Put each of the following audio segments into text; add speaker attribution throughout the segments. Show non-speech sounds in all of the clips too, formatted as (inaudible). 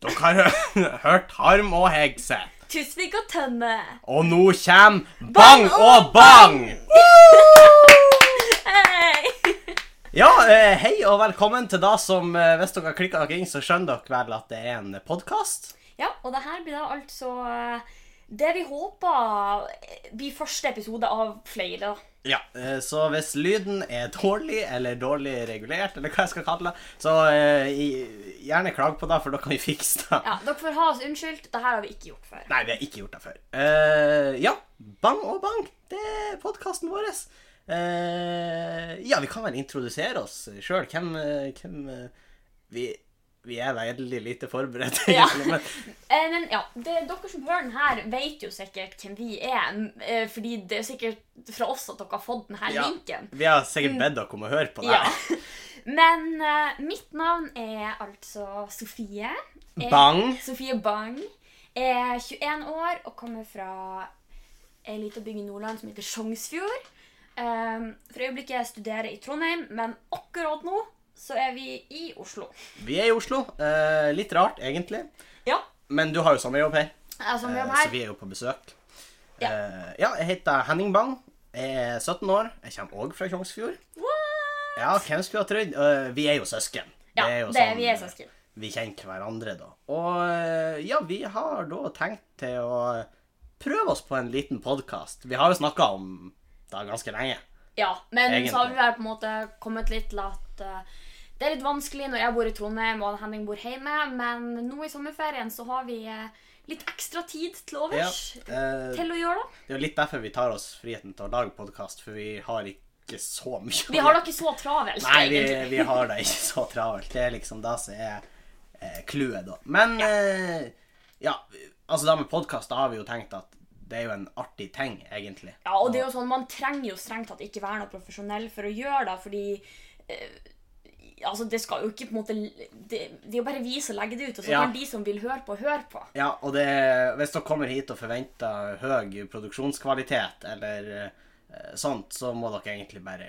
Speaker 1: Dere har hø- (laughs) hørt Harm og Hegse.
Speaker 2: Tusvik og Tønne.
Speaker 1: Og nå kommer Bang og Bang!
Speaker 2: Hei!
Speaker 1: Ja, eh, hei og velkommen til det som eh, Hvis dere klikker dere inn, så skjønner dere vel at det er en podkast.
Speaker 2: (laughs) Ja, og det her blir da altså eh, det vi håper eh, blir første episode av flere.
Speaker 1: Ja, eh, så hvis lyden er dårlig, eller dårlig regulert, eller hva jeg skal kalle det, så eh, i- gjerne klag på det, for da kan vi fikse det.
Speaker 2: Ja, Dere får ha oss unnskyldt. Det her har vi ikke gjort før.
Speaker 1: Nei, vi har ikke gjort det før. Eh, ja, Bang og Bang, det er podkasten vår. Eh, ja, vi kan vel introdusere oss sjøl. Hvem, eh, hvem eh, vi, vi er veldig lite forberedt,
Speaker 2: Ja.
Speaker 1: egentlig, men
Speaker 2: Eh, men ja, det, dere som hører den her, vet jo sikkert hvem vi er. m- eh, fordi det er sikkert fra oss at dere har fått denne
Speaker 1: Ja.
Speaker 2: linken.
Speaker 1: vi har sikkert bedt dere om å høre på det.
Speaker 2: Mm. Ja. (laughs) Men eh, mitt navn er altså Sofie. Jeg-
Speaker 1: Bang.
Speaker 2: Sofie Bang. Er 21 år og kommer fra ei lita bygd i Nordland som heter Sjongsfjord. Um, for øyeblikket studerer jeg i Trondheim, men akkurat nå så er vi i Oslo.
Speaker 1: Vi er i Oslo. eh, litt rart, egentlig.
Speaker 2: Ja.
Speaker 1: Men du har jo sommerjobb her,
Speaker 2: Jeg som
Speaker 1: eh,
Speaker 2: jobber
Speaker 1: så
Speaker 2: her.
Speaker 1: vi er jo på besøk.
Speaker 2: Ja.
Speaker 1: Eh, ja, jeg heter Henning Bang. Jeg er 17 år. Jeg kommer òg fra Tjongsfjord.
Speaker 2: What?
Speaker 1: Ja, hvem skulle ha trodd? Eh, vi er jo søsken.
Speaker 2: Ja, det er,
Speaker 1: jo
Speaker 2: vi er
Speaker 1: eh,
Speaker 2: søsken.
Speaker 1: vi kjenner hverandre, da. Og eh, ja, vi har da tenkt til å prøve oss på en liten podkast. Vi har jo snakka om det ganske lenge.
Speaker 2: Ja, men
Speaker 1: Egentlig.
Speaker 2: så har vi vel på en måte kommet litt til at eh, det er litt vanskelig når jeg bor i Trondheim og Henning bor hjemme, men nå i sommerferien så har vi eh, litt ekstra tid til
Speaker 1: Ja,
Speaker 2: overs
Speaker 1: eh,
Speaker 2: til å gjøre det.
Speaker 1: det er jo litt derfor vi tar oss friheten til å lage podkast, for vi har ikke så mye å
Speaker 2: Vi har da ikke så travelt,
Speaker 1: (laughs) Nei, vi,
Speaker 2: egentlig.
Speaker 1: vi har det ikke så travelt. Det er liksom det som er eh, clouet, da. Men eh, ja, altså det med podkast, da har vi jo tenkt at det er jo en artig ting, egentlig.
Speaker 2: Ja, og det er jo sånn, man trenger jo strengt tatt ikke være noe profesjonell for å gjøre det, fordi eh, Altså, det skal jo ikke på en måte Det, det er jo bare vi som legger det ut, og så
Speaker 1: Ja.
Speaker 2: kan de som vil høre på, høre på.
Speaker 1: Ja, og det, hvis dere kommer hit og forventer høy produksjonskvalitet eller eh, sånt, så må dere egentlig bare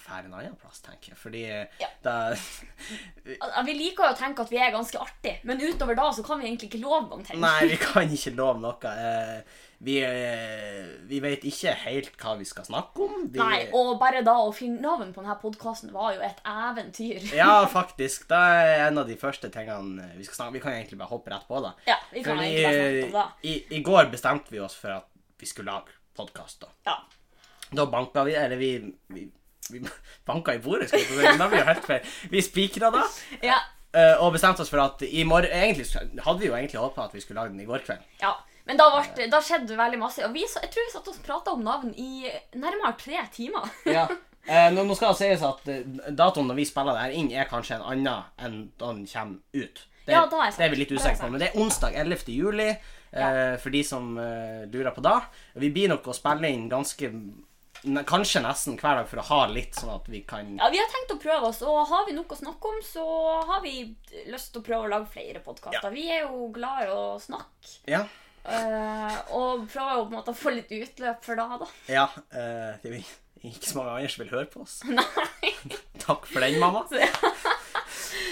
Speaker 1: fære en annen plass, tenker jeg. Fordi
Speaker 2: Ja.
Speaker 1: det
Speaker 2: Al- Vi liker jo å tenke at vi er ganske artig, men utover da så kan vi egentlig ikke love noen ting.
Speaker 1: (laughs) Nei, vi kan ikke love noe. Eh, Vi, eh, vi vet ikke helt hva vi skal snakke om. Vi,
Speaker 2: Nei, og bare da å finne navn på denne podkasten var jo et eventyr.
Speaker 1: Ja, faktisk. Det er en av de første tingene eh, vi skal snakke om. Vi kan egentlig bare hoppe rett på det.
Speaker 2: Ja, vi kan egentlig bare snakke om
Speaker 1: i,
Speaker 2: det.
Speaker 1: i går bestemte vi oss for at vi skulle lage podkast, da.
Speaker 2: (laughs) Ja.
Speaker 1: Da banka vi Eller vi, vi, vi (laughs) banka i bordet, skal vi få si. men Da blir jo helt feil. Vi spikra da,
Speaker 2: ja.
Speaker 1: eh, og bestemte oss for at i morgen Egentlig hadde vi jo egentlig håpa at vi skulle lage den i går kveld.
Speaker 2: ja. Men da, ble, da skjedde det veldig masse. Og vi, så- jeg tror vi satt og prata om navn i nærmere tre timer. (laughs)
Speaker 1: Ja. Eh, nå, nå skal det sies at eh, datoen når vi spiller det her inn, er kanskje en annen enn da den kommer ut. Det,
Speaker 2: Ja, da er sant.
Speaker 1: det er vi litt
Speaker 2: Da er
Speaker 1: usikre på,
Speaker 2: sant.
Speaker 1: men det er onsdag 11. juli, eh, for de som eh, lurer på det. Vi blir nok å spille inn ganske ne- Kanskje nesten hver dag for å ha litt, sånn at vi kan
Speaker 2: Ja, Vi har tenkt å prøve oss, og har vi noe å snakke om, så har vi lyst til å prøve å lage flere podkaster. Vi er jo glad i å snakke,
Speaker 1: Ja.
Speaker 2: eh, og prøver jo på en måte å få litt utløp for det, da.
Speaker 1: Ja, eh, det er jo ikke så mange andre som vil høre på oss.
Speaker 2: (laughs) Nei.
Speaker 1: Takk for den, mamma.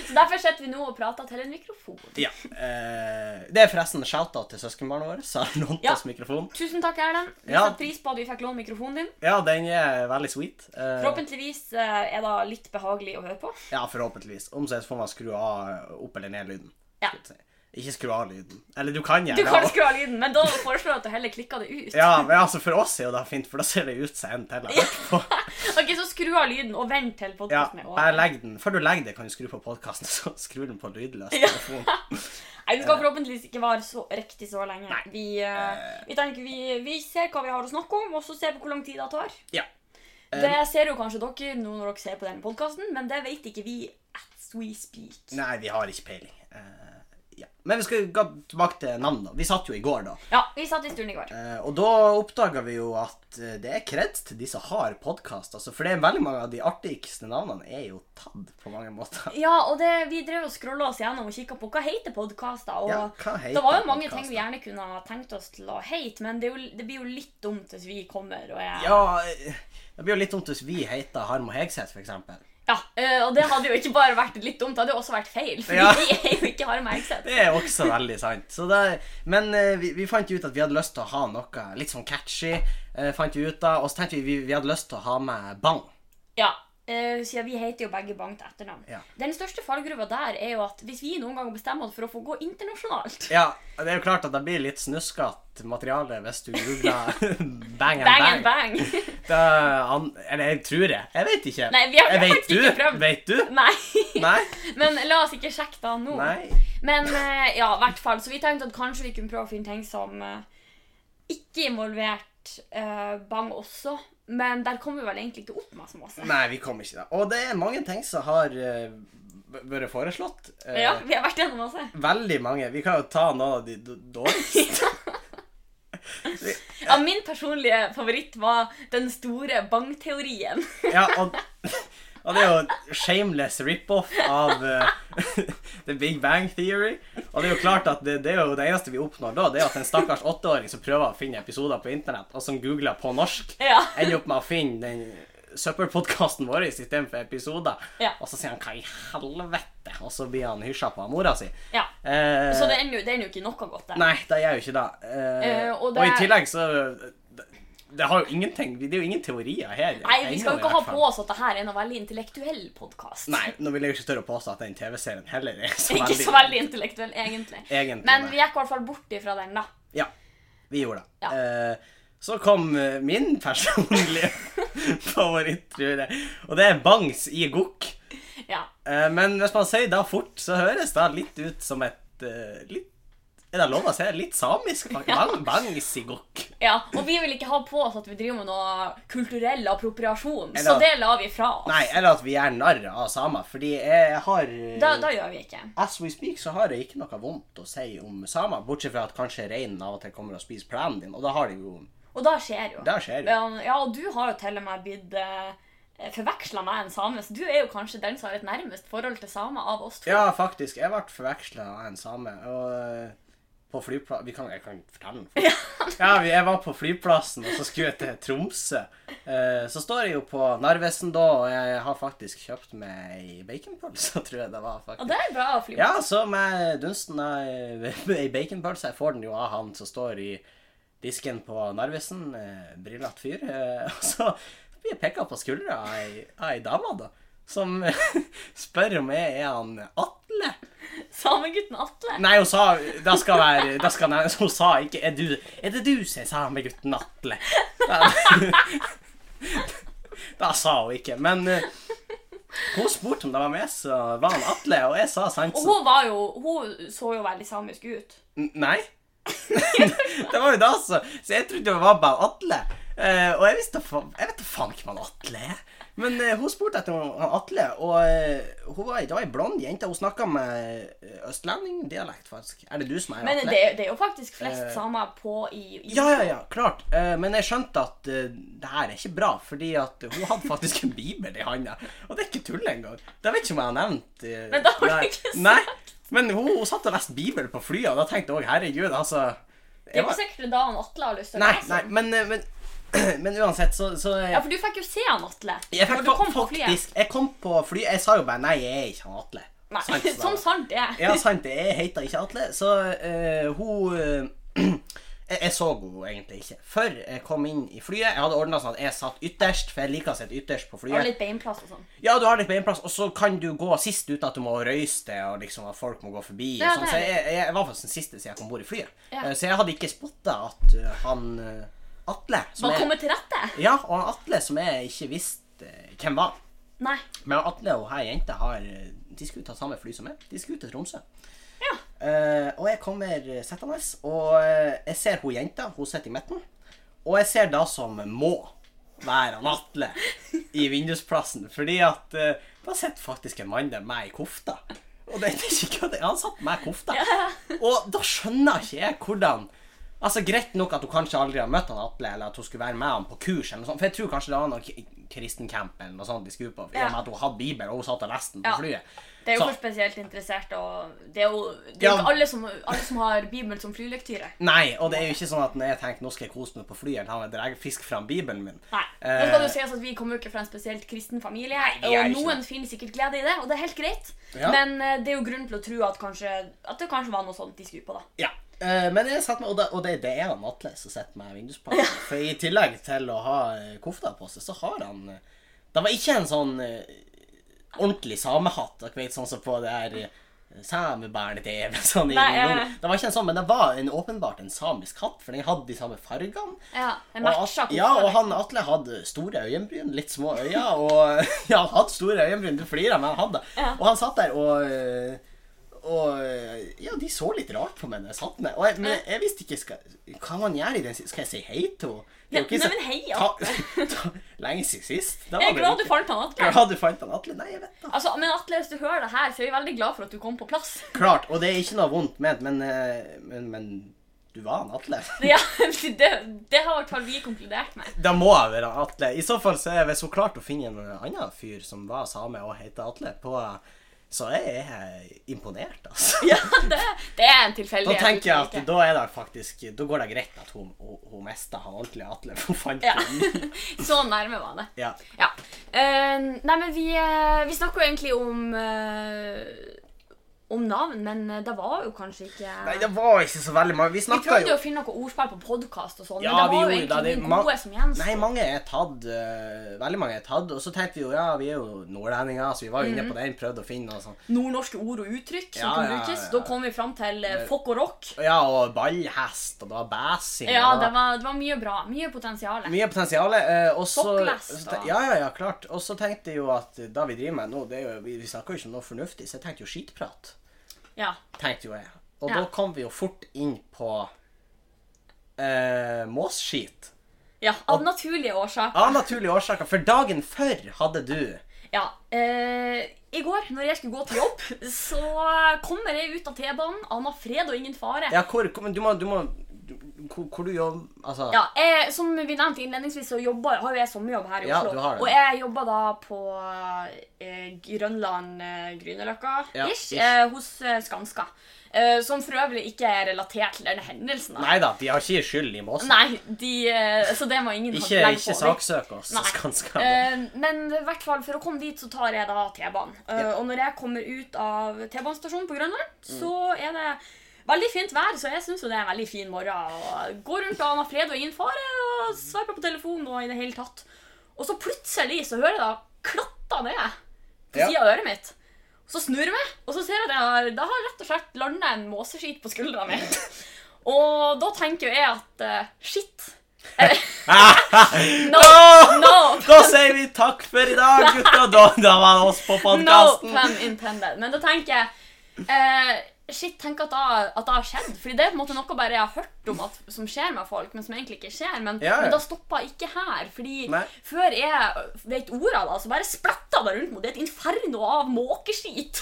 Speaker 2: Så derfor sitter vi nå og prater til en mikrofon.
Speaker 1: Ja, eh, det er forresten shout-out til søskenbarnet vårt, som har lånt
Speaker 2: Ja.
Speaker 1: oss mikrofon.
Speaker 2: Tusen takk, Erlend. Vi
Speaker 1: Ja.
Speaker 2: setter pris på at vi fikk låne mikrofonen din.
Speaker 1: Ja, den er veldig sweet. Eh,
Speaker 2: Forhåpentligvis eh, er det litt behagelig å høre på.
Speaker 1: ja, forhåpentligvis. Om så får man skru av eh, opp eller ned lyden.
Speaker 2: Ja.
Speaker 1: skulle jeg Si. Ikke skru av lyden. Eller du kan gjerne
Speaker 2: Du kan
Speaker 1: av-
Speaker 2: skru av lyden, men da foreslår jeg at du heller klikker det ut.
Speaker 1: Ja, men altså For oss er jo det fint, for da ser det ut som en til jeg har hørt på.
Speaker 2: Ok, Så skru av lyden og vent til
Speaker 1: Ja,
Speaker 2: (laughs) podkasten er
Speaker 1: bare
Speaker 2: over.
Speaker 1: legg den. Før du legger det, kan du skru på podkasten, (laughs) så skrur den på lydløs
Speaker 2: Ja.
Speaker 1: telefon.
Speaker 2: Nei, Den skal forhåpentligvis ikke vare så riktig så lenge.
Speaker 1: Eh. Nei.
Speaker 2: Vi, eh, vi tenker vi, vi ser hva vi har å snakke om, og så ser vi hvor lang tid det tar.
Speaker 1: Ja. Eh.
Speaker 2: Det ser jo kanskje dere nå når dere ser på denne podkasten, men det vet ikke vi as we speak.
Speaker 1: Nei, vi har ikke peiling. Eh, ja. Men vi skal gå tilbake til navn, da. Vi satt jo i går, da.
Speaker 2: Ja, vi satt i stuen i går.
Speaker 1: Eh, og da oppdaga vi jo at eh, det er kreds til de som har podkast. Altså, for det er veldig mange av de artigste navnene er jo tatt på mange måter. (laughs)
Speaker 2: Ja, og det, vi drev og scrolla oss gjennom og kikka på hva heter podkaster. Og
Speaker 1: Ja, hva heter
Speaker 2: det var jo mange
Speaker 1: podcaster?
Speaker 2: ting vi gjerne kunne ha tenkt oss til å hete, men det, er jo, det blir jo litt dumt hvis vi kommer og er
Speaker 1: Ja, eh, det blir jo litt dumt hvis vi heter Harm og Hegseth, for eksempel.
Speaker 2: Ja, eh, og det hadde jo ikke bare vært litt dumt, det hadde jo også vært feil. For
Speaker 1: Ja.
Speaker 2: vi er jo ikke Harm
Speaker 1: (laughs)
Speaker 2: Hegseth.
Speaker 1: Det er også veldig sant. Så det, men eh, vi, vi fant ut at vi hadde lyst til å ha noe litt sånn catchy. eh, fant vi ut da, Og så tenkte vi vi, vi hadde lyst til å ha med Bang.
Speaker 2: Ja, eh, siden vi heter jo begge Bang til etternavn.
Speaker 1: Ja.
Speaker 2: Den største fallgruva der er jo at hvis vi noen gang bestemmer oss for å få gå internasjonalt
Speaker 1: Ja, Det er jo klart at det blir litt snuskete materiale hvis du
Speaker 2: (laughs)
Speaker 1: googler Bang and
Speaker 2: Bang
Speaker 1: Bang.
Speaker 2: and bang! (laughs)
Speaker 1: Da, an, eller jeg tror det. Jeg vet ikke.
Speaker 2: Nei, vi har
Speaker 1: jeg vet
Speaker 2: faktisk ikke prøvd.
Speaker 1: Vet du?
Speaker 2: Nei.
Speaker 1: Nei?
Speaker 2: Men la oss ikke sjekke da nå.
Speaker 1: Nei.
Speaker 2: Men eh, ja, i hvert fall. Så vi tenkte at kanskje vi kunne prøve å finne ting som eh, ikke involvert eh, Bang også. Men der kom vi vel egentlig ikke opp med så masse.
Speaker 1: Nei, vi kom ikke da. Og det er mange ting som har eh, b- vært foreslått. Eh,
Speaker 2: Ja, vi har vært gjennom masse.
Speaker 1: Veldig mange. Vi kan jo ta noen av de d- dårligste.
Speaker 2: Ja, min personlige favoritt var den store bang-teorien.
Speaker 1: Ja, og, og det er jo en shameless rip-off av eh, (laughs) The Big Bang Theory. Og det er jo klart at det, det er jo det eneste vi oppnår da, det er at en stakkars åtteåring som prøver å finne episoder på internett, og som googler på norsk,
Speaker 2: Ja.
Speaker 1: ender opp med å finne den søppelpodkasten vår i stedet for episoder.
Speaker 2: Ja.
Speaker 1: Og så sier han 'hva i helvete', og så blir han hysja på av mora si.
Speaker 2: Ja.
Speaker 1: Eh,
Speaker 2: Så det ender jo, det ender jo ikke noe godt, det.
Speaker 1: Nei, det gjør jo ikke det. Eh,
Speaker 2: Eh, og
Speaker 1: og,
Speaker 2: det-
Speaker 1: i tillegg så det, det har jo ingenting Det er jo ingen teorier her.
Speaker 2: Nei, vi skal
Speaker 1: ennå,
Speaker 2: jo
Speaker 1: i
Speaker 2: ikke ha
Speaker 1: hvert fall.
Speaker 2: på oss at det her er en veldig intellektuell podkast.
Speaker 1: Nei, nå vil jeg jo ikke tørre å påstå at den TV-serien heller er så veldig
Speaker 2: (laughs) Ikke så veldig intellektuell, egentlig.
Speaker 1: Egentlig,
Speaker 2: Men
Speaker 1: nei.
Speaker 2: vi gikk i hvert fall bort ifra den, da.
Speaker 1: Ja, vi gjorde det.
Speaker 2: Ja.
Speaker 1: Eh, så kom eh, min personlige (laughs) favoritt, tror jeg. Og det er Bangs i gokk.
Speaker 2: Ja.
Speaker 1: Eh, men hvis man sier det fort, så høres det litt ut som et eh, litt, Er det lov å si litt samisk? Bang, bangs i gokk.
Speaker 2: ja. Og vi vil ikke ha på oss at vi driver med noe kulturell appropriasjon, så
Speaker 1: Eller-
Speaker 2: det la vi fra oss.
Speaker 1: Nei, eller at vi gjør narr av samer, fordi jeg har eh,
Speaker 2: Da, da gjør vi ikke.
Speaker 1: As we speak så har jeg ikke noe vondt å si om samer, bortsett fra at kanskje reinen av og til kommer og spiser plenen din, og da har de jo
Speaker 2: Og da skjer jo.
Speaker 1: Da skjer det.
Speaker 2: Ja, ja, og du har jo til og med blitt uh, forveksla med en same, så du er jo kanskje den som har et nærmest forhold til samer av oss to.
Speaker 1: Ja, faktisk. Jeg ble forveksla av en same. Og eh, på flyplass... Vi kan, jeg kan fortelle den. (laughs) Ja, vi- jeg var på flyplassen, og så skulle jeg til Tromsø. Eh, Så står jeg jo på Narvesen da, og jeg har faktisk kjøpt meg ei baconpølse, (laughs) tror jeg det var.
Speaker 2: Og
Speaker 1: faktisk.
Speaker 2: det er bra å fly med.
Speaker 1: Ja, så med dunsten av (laughs) ei baconpølse. Jeg får den jo av han som står i disken på Narvesen. eh, Brillete fyr. eh, (laughs) Og så blir jeg pekka på skuldra av ei- av ei dame, da. Som (laughs) spør om jeg er han Atle.
Speaker 2: Samegutten Atle.
Speaker 1: Nei, hun sa det skal være det skal, nei, Hun sa ikke Er, du, er det du som er samegutten Atle? Da, (laughs) da sa hun ikke. Men eh, hun spurte om det var meg, så var han Atle, og jeg sa sant.
Speaker 2: Og
Speaker 1: så-
Speaker 2: hun, var jo, hun så jo veldig samisk ut.
Speaker 1: N- Nei. (laughs) det var jo det, altså. Så jeg trodde det var bare Atle. Eh, og jeg visste fa- Jeg vet da faen ikke hvem han Atle er. Men eh, hun spurte etter han- han Atle, og eh, hun var, det var ei blond jente. Hun snakka med eh, østlendingdialekt, faktisk. Er det du som er
Speaker 2: Men
Speaker 1: Atle?
Speaker 2: det, det er jo faktisk flest
Speaker 1: Eh.
Speaker 2: samer på i, i
Speaker 1: Ja, ja, ja, klart. Eh, men jeg skjønte at eh, det her er ikke bra, fordi at hun hadde faktisk en bibel i handa. Og det er ikke tull engang. Det vet ikke om jeg har nevnt. eh,
Speaker 2: Men det har du
Speaker 1: nei.
Speaker 2: ikke sagt.
Speaker 1: Nei, men hun, hun satt og leste bibel på flyet, og da tenkte jeg òg herregud, altså
Speaker 2: Det
Speaker 1: jeg
Speaker 2: er jo
Speaker 1: var-
Speaker 2: ikke sikkert da han Atle har lyst til å
Speaker 1: Nei,
Speaker 2: lese.
Speaker 1: nei, men, eh, men, (clears throat) men uansett, så, så
Speaker 2: Altså.
Speaker 1: eh,
Speaker 2: Ja, for du fikk jo se han Atle.
Speaker 1: Jeg fikk
Speaker 2: når du kom
Speaker 1: fa-
Speaker 2: på flyet.
Speaker 1: faktisk Jeg kom på fly Jeg sa jo bare nei, jeg er ikke han Atle.
Speaker 2: Nei, (laughs) sånn
Speaker 1: Sant, sa
Speaker 2: Som
Speaker 1: jeg.
Speaker 2: sant er.
Speaker 1: Ja, sant. det. Jeg heter ikke Atle. Så eh, hun eh, (clears throat) jeg, jeg så henne egentlig ikke. Før jeg kom inn i flyet Jeg hadde ordna sånn at jeg satt ytterst, for jeg liker å sitte ytterst på
Speaker 2: Og
Speaker 1: flyet.
Speaker 2: litt beinplass og sånn.
Speaker 1: Ja, du har litt beinplass, og så kan du gå sist uten at du må røyse deg, og liksom at folk må gå forbi.
Speaker 2: Ja,
Speaker 1: og sånn.
Speaker 2: det
Speaker 1: Så
Speaker 2: er
Speaker 1: jeg, jeg, jeg var faktisk den siste siden jeg kom bort i flyet.
Speaker 2: Ja.
Speaker 1: Eh, Så jeg hadde ikke spotta at eh, han eh, Atle som
Speaker 2: Var
Speaker 1: jeg-
Speaker 2: kommet til rette?
Speaker 1: ja, og han Atle som jeg ikke visste eh, hvem var.
Speaker 2: Nei.
Speaker 1: Men han Atle og ei jente har eh, De skulle ta samme fly som meg. De skulle til Tromsø.
Speaker 2: Ja.
Speaker 1: Eh, og jeg kommer eh, settende, og eh, jeg ser hun jenta. Hun sitter i midten. Og jeg ser det som må være han Atle i vindusplassen. Fordi at eh, da sitter faktisk en mann der med ei kofte. Og det er ikke kødd. Han satt med kofte. Og da skjønner ikke jeg hvordan Altså, Greit nok at hun kanskje aldri har møtt han Atle, eller at hun skulle være med han på kurs. eller noe sånt. For jeg tror kanskje det var noe k- kristencamp eller noe sånt de skulle på. I
Speaker 2: Ja.
Speaker 1: og med at hun hadde Bibel, og hun satt og leste den på
Speaker 2: Ja.
Speaker 1: flyet.
Speaker 2: Det er jo
Speaker 1: Så-
Speaker 2: for spesielt interessert, og det er jo, det er jo
Speaker 1: Ja.
Speaker 2: ikke alle som, alle som har Bibelen som flylektyre.
Speaker 1: Nei, og det er jo ikke sånn at når jeg tenker nå skal jeg kose meg på flyet, eller han vil dra- fiske fram Bibelen min.
Speaker 2: Nei.
Speaker 1: Eh.
Speaker 2: Nå skal det jo sies at vi kommer jo ikke fra en spesielt kristen familie,
Speaker 1: vi er
Speaker 2: og
Speaker 1: ikke
Speaker 2: noen finner sikkert glede i det, og det er helt greit,
Speaker 1: Ja.
Speaker 2: men eh, det er jo grunn til å tro at, kanskje, at det kanskje var noe sånt de skulle på, da.
Speaker 1: Ja. Eh, men jeg satt med, og, det, og det, det er han Atle som sitter med vinduspakken. For i tillegg til å ha eh, kofta på seg, så har han eh, Det var ikke en sånn eh, ordentlig samehatt, dere vet, sånn som på det her eh, samebærne-TV. Sånn i
Speaker 2: Nei, ja, ja.
Speaker 1: nord. Det var ikke en sånn, men det var en, åpenbart en samisk hatt, for den hadde de samme fargene.
Speaker 2: Ja, det
Speaker 1: Og,
Speaker 2: matcha
Speaker 1: At- ja, og han Atle hadde store øyenbryn, litt små øyne, og (laughs) Ja, han hadde store øyenbryn, du flirer, men han hadde det.
Speaker 2: Ja.
Speaker 1: Og han satt der og øh, og øh, ja, de så litt rart på meg når jeg satt med. Og jeg, men jeg, jeg visste ikke skal, Hva man gjør i den siden? Skal jeg si hei til henne? Det er jo
Speaker 2: Nei,
Speaker 1: ikke så-
Speaker 2: nei, men hei,
Speaker 1: Ta, (laughs) ta, lenge siden sist. Da
Speaker 2: Jeg er
Speaker 1: det
Speaker 2: glad du
Speaker 1: litt-
Speaker 2: fant han, Atle.
Speaker 1: Glad du fant han Atle? Nei, jeg vet da.
Speaker 2: Altså, men Atle, hvis du hører det her, så er vi veldig glad for at du kom på (laughs) plass.
Speaker 1: Klart. Og det er ikke noe vondt ment, men, øh, men, men du var han Atle.
Speaker 2: Ja, det, det har i hvert fall vi konkludert med.
Speaker 1: Da må jeg være Atle. I så fall så er hvis hun klarte å finne en annen fyr som var same og heter Atle, på, så er jeg imponert, altså.
Speaker 2: Ja, (laughs) det, det er en
Speaker 1: (laughs)
Speaker 2: tilfeldighet.
Speaker 1: Da tenker jeg
Speaker 2: uten
Speaker 1: at da er det faktisk Da går det greit at hun, hun, hun mista han ordentlige Atle. (laughs) for Hun fant
Speaker 2: Ja.
Speaker 1: den.
Speaker 2: (laughs) Så nærme var det.
Speaker 1: Ja.
Speaker 2: Ja. Eh, nei, men vi, eh, vi snakker jo egentlig om eh, om navn, men eh, det var jo kanskje ikke
Speaker 1: Nei, det var ikke så veldig mange. Vi
Speaker 2: Vi
Speaker 1: snakka
Speaker 2: prøvde
Speaker 1: jo
Speaker 2: jo å finne noe ordspill på podkast og sånn,
Speaker 1: Ja,
Speaker 2: men det
Speaker 1: vi
Speaker 2: var
Speaker 1: gjorde
Speaker 2: jo
Speaker 1: det.
Speaker 2: egentlig
Speaker 1: Det
Speaker 2: de
Speaker 1: ma-
Speaker 2: gode som gjensto.
Speaker 1: Nei, mange er tatt. øh, veldig mange er tatt. Og så tenkte vi jo ja, vi er jo nordlendinger, så vi var jo
Speaker 2: Mhm.
Speaker 1: inne på den. Prøvde å finne noe sånn- sånt.
Speaker 2: Nordnorske ord og uttrykk som
Speaker 1: Ja,
Speaker 2: kan
Speaker 1: ja, ja,
Speaker 2: brukes.
Speaker 1: ja.
Speaker 2: Da kom vi fram til eh, fokk og rock.
Speaker 1: Ja, og ballhest, og det var bæsing.
Speaker 2: Ja,
Speaker 1: og-
Speaker 2: det var, det var mye bra. Mye potensial.
Speaker 1: Mye potensial. eh, Og så så
Speaker 2: Backlash, da.
Speaker 1: te- Ja, ja, ja, klart. Og så tenkte jeg jo at da vi driver med nå, det er jo, vi, vi snakker jo ikke om noe fornuftig, så jeg tenkte jo skitprat.
Speaker 2: Ja.
Speaker 1: Tenkte jo jeg. Og
Speaker 2: Ja.
Speaker 1: da kom vi jo fort inn på eh, måsskit.
Speaker 2: ja. Av naturlige årsaker.
Speaker 1: Av naturlige årsaker, for dagen før hadde du
Speaker 2: Ja. Eh, I går, når jeg skulle gå til jobb, så kommer jeg ut av T-banen. Anna fred og ingen fare.
Speaker 1: Ja, hvor, hvor men du må, du må du, hvor, hvor du jobber Altså
Speaker 2: Ja, jeg, Som vi nevnte innledningsvis, så jobber, har jo jeg sommerjobb her i
Speaker 1: Ja,
Speaker 2: Oslo.
Speaker 1: du har det.
Speaker 2: Og jeg jobber da på eh, Grønland eh,
Speaker 1: Ja,
Speaker 2: Grünerløkka-ish,
Speaker 1: ish.
Speaker 2: eh, hos eh, Skanska. Eh, som for øvrig ikke er relatert til denne hendelsen. da.
Speaker 1: Nei da, de har ikke skyld i måsen.
Speaker 2: Nei, de, eh, så det må ingen ha-
Speaker 1: Ikke,
Speaker 2: legge på
Speaker 1: ikke
Speaker 2: deg.
Speaker 1: saksøk oss,
Speaker 2: Nei.
Speaker 1: Skanska.
Speaker 2: Eh, men i hvert fall for å komme dit, så tar jeg da T-banen. Eh,
Speaker 1: Ja. Mm.
Speaker 2: Og når jeg kommer ut av T-banestasjonen på Grønland, så er det veldig fint vær, så jeg syns jo det er en veldig fin morgen. Og går rundt og aner fred og ingen fare, og sveiper på telefonen og i det hele tatt. Og så plutselig så hører jeg da klatter ned på
Speaker 1: Ja.
Speaker 2: sida av øret mitt. Så snur jeg meg, og så ser jeg at jeg har, da har jeg rett og slett landa en måseskit på skuldra mi.
Speaker 1: (laughs)
Speaker 2: Og da tenker jo jeg at eh, shit. No,
Speaker 1: Ah!
Speaker 2: no,
Speaker 1: Da sier vi takk for i dag, gutta. Da, da var det oss på podkasten.
Speaker 2: No pun intended. Men da tenker jeg eh, Shit, tenk at det, at det har skjedd. Fordi det er på en måte noe bare jeg har hørt om at, som skjer med folk, men som egentlig ikke skjer. Men,
Speaker 1: Ja, ja.
Speaker 2: men det stoppa ikke her. Fordi
Speaker 1: Nei.
Speaker 2: før jeg vet ordet av det, så bare splatta det rundt mot det. Et inferno av måkeskit.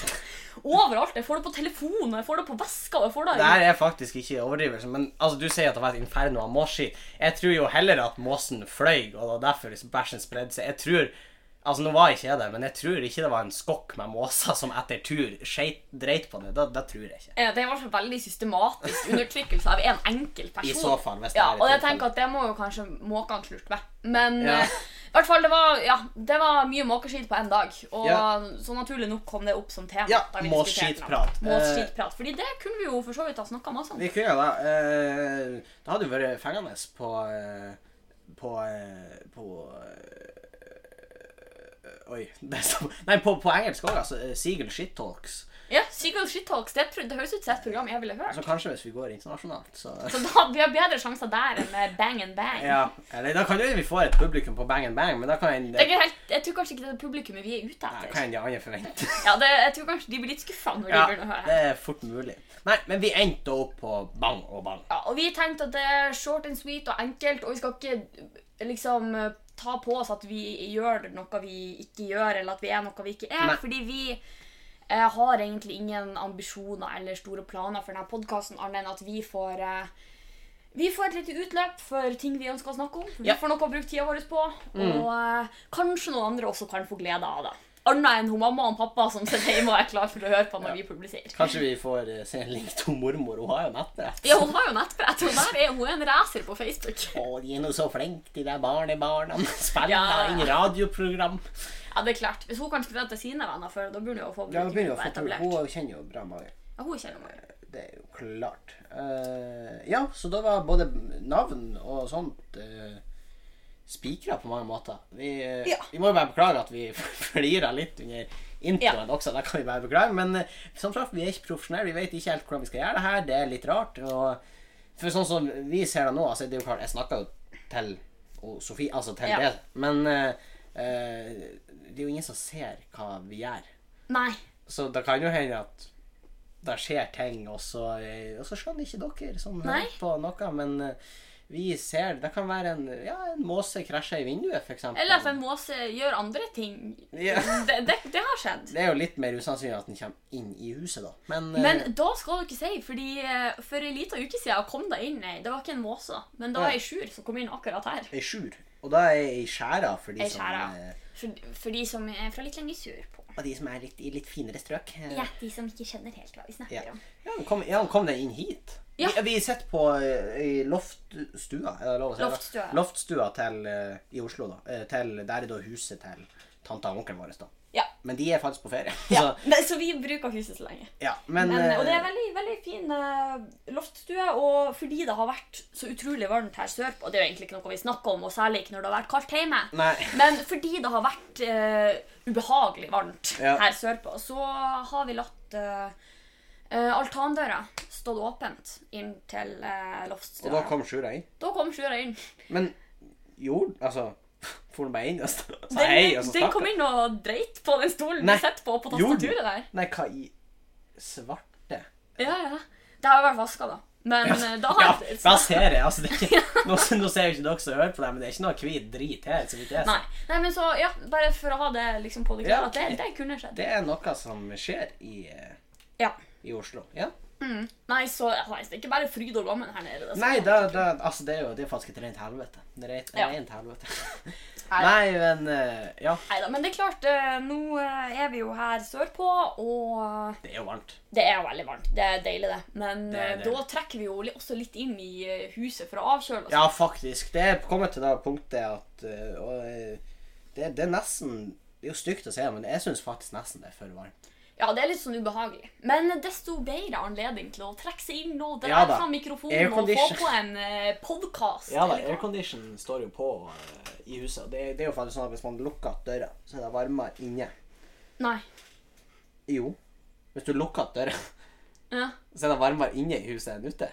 Speaker 2: Overalt. Jeg får det på telefonen, jeg får det på veska og jeg får det
Speaker 1: Det her er faktisk ikke overdrivelse, men altså, du sier at det var et inferno av måsski. Jeg tror jo heller at måsen fløy, og det var derfor liksom bæsjen spredde seg. Jeg tror Altså, nå var ikke jeg der, men jeg tror ikke det var en skokk med måser som etter tur skeit, dreit på det. Det, det tror jeg ikke.
Speaker 2: Eh, Det er i hvert fall veldig systematisk undertrykkelse av en enkel person.
Speaker 1: I så fall, hvis det
Speaker 2: Ja,
Speaker 1: er et
Speaker 2: og jeg
Speaker 1: tilfelle.
Speaker 2: tenker at det må jo kanskje måkene slutte med. Men
Speaker 1: Ja.
Speaker 2: eh, i hvert fall, det var, ja, det var mye måkeskitt på én dag. Og
Speaker 1: Ja.
Speaker 2: så naturlig nok kom det opp som tema.
Speaker 1: Ja,
Speaker 2: da vi diskuterte det.
Speaker 1: måsskitprat.
Speaker 2: Måsskitprat. Fordi det kunne vi jo for så vidt ha snakka masse om.
Speaker 1: Vi kunne jo da eh, Det hadde jo vært fengende på eh, På eh, På eh, Oi. (laughs) Det er så, nei, på, på engelsk òg, altså. eh, Seagull Shit Talks.
Speaker 2: Ja, Seagull Shit Talks, det, tror- det høres ut som et program jeg ville hørt.
Speaker 1: Så kanskje hvis vi går internasjonalt, så
Speaker 2: Så da vi har bedre sjanser der enn med Bang and Bang.
Speaker 1: Ja. Eller da kan jo vi få et publikum på Bang Bang, men da kan en,
Speaker 2: Det er ikke helt, jeg tror kanskje ikke det er publikummet vi er ute
Speaker 1: da
Speaker 2: etter.
Speaker 1: kan de andre forvente.
Speaker 2: (laughs) Ja, det, jeg tror kanskje de blir litt skuffa når de begynner å høre.
Speaker 1: det er fort mulig. Nei, men vi endte opp på Bang og Bang.
Speaker 2: Ja, og vi tenkte at det er short and sweet og enkelt, og vi skal ikke liksom ta på oss at vi gjør noe vi ikke gjør, eller at vi er noe vi ikke er,
Speaker 1: Nei.
Speaker 2: fordi vi eh, har egentlig ingen ambisjoner eller store planer for denne podkasten, annet enn at vi får eh, Vi får et lite utløp for ting vi ønsker å snakke om. Vi
Speaker 1: Ja. Mm.
Speaker 2: får noe å bruke tida vår på. Og eh, kanskje noen andre også kan få glede av det. Annet enn hun mamma og pappa som sitter hjemme og er klar for å høre på når vi publiserer.
Speaker 1: Kanskje vi får eh, se en link til mormor. Hun har jo nettbrett.
Speaker 2: Ja, hun har jo nettbrett. Hun, der er, hun er en racer på Facebook.
Speaker 1: Å, de er nå så flinke, de der barnebarna. Spiller
Speaker 2: Ja.
Speaker 1: inn radioprogram.
Speaker 2: Ja, det er klart. Hvis hun kan skrive det til sine venner før, da begynner hun å få
Speaker 1: Ja, hun begynner jo å
Speaker 2: brukergruppa
Speaker 1: få
Speaker 2: etablert.
Speaker 1: Hun kjenner jo bra mange.
Speaker 2: Ja, hun kjenner meg.
Speaker 1: Det er jo klart. Eh, ja, så da var både navn og sånt uh, spikra på mange måter. Vi, eh,
Speaker 2: Ja.
Speaker 1: vi må jo bare beklage at vi (laughs) flira litt under introen også. Da kan vi bare beklage. Men eh, som sagt, vi er ikke profesjonelle. Vi vet ikke helt hvordan vi skal gjøre det her. Det er litt rart. Og for sånn som vi ser det nå, altså det er jo klart, jeg snakka jo til og Sofie, altså til
Speaker 2: Ja.
Speaker 1: det, men eh, eh, det er jo ingen som ser hva vi gjør.
Speaker 2: Nei.
Speaker 1: Så det kan jo hende at det skjer ting, og så, eh, og så skjønner ikke dere som
Speaker 2: Nei.
Speaker 1: hører på noe. Men eh, vi ser Det kan være en, ja, en måse krasjer i vinduet, f.eks.
Speaker 2: Eller at en måse gjør andre ting.
Speaker 1: Ja.
Speaker 2: Det, det, det har skjedd.
Speaker 1: Det er jo litt mer usannsynlig at den kommer inn i huset, da. Men, eh,
Speaker 2: Men da skal du ikke si, fordi eh, for en liten uke siden kom det inn ei Det var ikke en måse, men det var ei sjur som kom inn akkurat her.
Speaker 1: ei skjur. Og da er ei skjæra for de
Speaker 2: Ei
Speaker 1: som
Speaker 2: skjæra.
Speaker 1: eh,
Speaker 2: For, for de som er fra litt lenger sur på.
Speaker 1: Og de som er litt, i litt finere strøk. eh,
Speaker 2: Ja, de som ikke skjønner helt hva vi
Speaker 1: Ja.
Speaker 2: snakker om.
Speaker 1: Ja, han kom, ja, han kom den inn hit.
Speaker 2: Ja.
Speaker 1: Vi, vi sitter på eh, i loftstua er det lov å si det?
Speaker 2: Loftstua.
Speaker 1: Loftstua til, eh, i Oslo, da. Eh, Til, der er da huset til tanta og onkelen vår. da.
Speaker 2: Ja.
Speaker 1: Men de er faktisk på ferie. (laughs)
Speaker 2: ja.
Speaker 1: Så,
Speaker 2: Men, så vi bruker huset så lenge.
Speaker 1: ja. Men,
Speaker 2: Men, og det er
Speaker 1: eh,
Speaker 2: veldig, veldig fin eh, loftstue, og fordi det har vært så utrolig varmt her sørpå, og det er jo egentlig ikke noe vi snakker om, og særlig ikke når det har vært kaldt hjemme,
Speaker 1: Nei.
Speaker 2: men fordi det har vært eh, ubehagelig varmt
Speaker 1: Ja.
Speaker 2: her sørpå, så har vi latt eh, eh, altandøra stått åpent inn til uh, loftstua.
Speaker 1: Og da kom Sjura inn.
Speaker 2: Da kom Sjura inn.
Speaker 1: Men gjorde Altså, (laughs) for han bare inn og sa sa
Speaker 2: Den,
Speaker 1: hei, altså, og så
Speaker 2: den
Speaker 1: stakk
Speaker 2: kom
Speaker 1: han?
Speaker 2: inn og dreit på den stolen
Speaker 1: Nei,
Speaker 2: vi sitter på, på
Speaker 1: gjorde den?
Speaker 2: tastaturet der.
Speaker 1: Nei, hva i svarte
Speaker 2: Ja, ja. Det har jo vært vaska, da. Men eh, da har
Speaker 1: (laughs) Ja, hva ser jeg? Altså, det er
Speaker 2: (laughs)
Speaker 1: ikke, nå, nå ser jo ikke dere som hører på det, men det er ikke noe hvit drit her. så vidt jeg ser.
Speaker 2: Nei. Nei, men så, ja, bare for å ha det liksom på det
Speaker 1: Ja,
Speaker 2: klare, at det,
Speaker 1: ok.
Speaker 2: det kunne skjedd.
Speaker 1: Det er noe som skjer i, eh,
Speaker 2: Ja.
Speaker 1: i Oslo. Ja.
Speaker 2: Nei, så nei, det er ikke bare fryd og gammen her nede. Det,
Speaker 1: Nei, da, da, altså, det er jo det er faktisk et rent helvete. Det er et
Speaker 2: Ja.
Speaker 1: rent helvete.
Speaker 2: Nei.
Speaker 1: (laughs) Nei, men eh, Ja,
Speaker 2: Neida, men det er klart, eh, nå eh, er vi jo her sørpå, og eh,
Speaker 1: det er jo varmt.
Speaker 2: det er jo veldig varmt. Det er deilig, det. Men
Speaker 1: Det er
Speaker 2: eh,
Speaker 1: det.
Speaker 2: da trekker vi jo li- også litt inn i eh, huset for å avkjøle oss.
Speaker 1: Ja, faktisk. Det er kommet til det punktet at eh, og, eh, det, det er nesten Det er jo stygt å si, men jeg syns faktisk nesten det er for varmt.
Speaker 2: Ja, det er litt sånn ubehagelig. Men desto bedre anledning til å trekke seg inn og dra
Speaker 1: Ja da.
Speaker 2: fram mikrofonen og få
Speaker 1: Aircondition.
Speaker 2: på en eh, podcast.
Speaker 1: Ja da,
Speaker 2: eller hva?
Speaker 1: aircondition står jo på eh, i huset. Og det, det er jo faktisk sånn at hvis man lukker opp døra, så er det varmere inne.
Speaker 2: Nei.
Speaker 1: Jo. Hvis du lukker opp døra, (laughs)
Speaker 2: Ja. (laughs)
Speaker 1: så er det varmere inne i huset enn ute.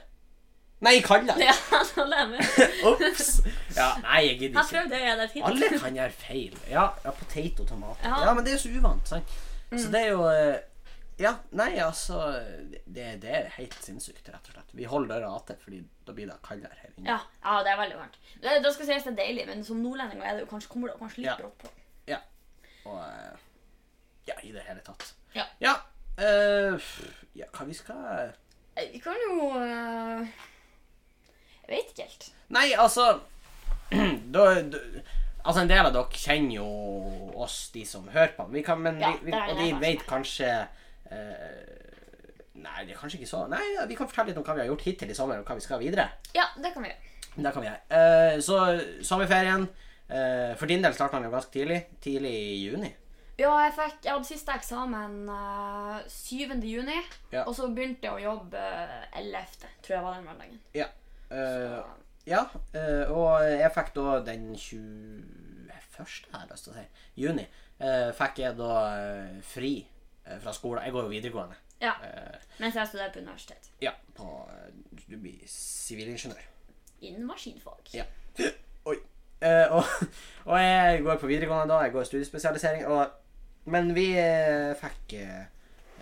Speaker 1: Nei, kaldere!
Speaker 2: Ja, det er det.
Speaker 1: Ops! Ja, nei, jeg
Speaker 2: Jeg
Speaker 1: gidder ikke.
Speaker 2: prøvde å gjøre det til.
Speaker 1: Alle kan gjøre feil. Ja, ja potet og tomat. Ja.
Speaker 2: Ja. Mm.
Speaker 1: men det er jo så uvant, sant? Så det er jo eh, Ja, nei, altså det, det er helt sinnssykt, rett og slett. Vi holder døra atter, fordi da blir det kaldere her inne.
Speaker 2: Ja, ja, det er veldig varmt. Det, det skal sies det er deilig, men som nordlending er det jo kanskje, kommer det jo kanskje litt
Speaker 1: Ja.
Speaker 2: brått på.
Speaker 1: Ja. Og eh, Ja, i det hele tatt.
Speaker 2: Ja.
Speaker 1: Ja, eh, ja hva vi skal
Speaker 2: Eh, Vi kan jo eh, Jeg vet ikke helt.
Speaker 1: Nei, altså (clears throat) da, da, Altså, en del av dere kjenner jo oss, de som hører på. Vi kan, men
Speaker 2: Ja,
Speaker 1: vi, vi,
Speaker 2: det er
Speaker 1: og
Speaker 2: det
Speaker 1: de
Speaker 2: kanskje.
Speaker 1: vet kanskje eh, Nei, det er kanskje ikke så Nei, ja, vi kan fortelle litt om hva vi har gjort hittil i sommer, og hva vi skal videre.
Speaker 2: Ja, det kan vi gjøre.
Speaker 1: Det kan vi gjøre. Eh, så sommerferien eh, For din del starta den jo ganske tidlig. Tidlig i juni.
Speaker 2: Ja, jeg, fikk, jeg hadde siste eksamen eh, 7. juni,
Speaker 1: Ja.
Speaker 2: og så begynte jeg å jobbe eh, 11., tror jeg var den mandagen.
Speaker 1: Ja. Eh,
Speaker 2: Så-
Speaker 1: ja eh, og jeg fikk da den 21., har jeg lyst til å si, juni, eh, fikk jeg da eh, fri eh, fra skolen. Jeg går jo videregående.
Speaker 2: Ja,
Speaker 1: Eh,
Speaker 2: Mens jeg studerte på universitet.
Speaker 1: ja, på, eh, du blir sivilingeniør.
Speaker 2: Innen maskinfag.
Speaker 1: Ja. (clears throat) Oi. Eh, og, (laughs) og jeg går på videregående da, jeg går studiespesialisering. Og, men vi eh, fikk eh,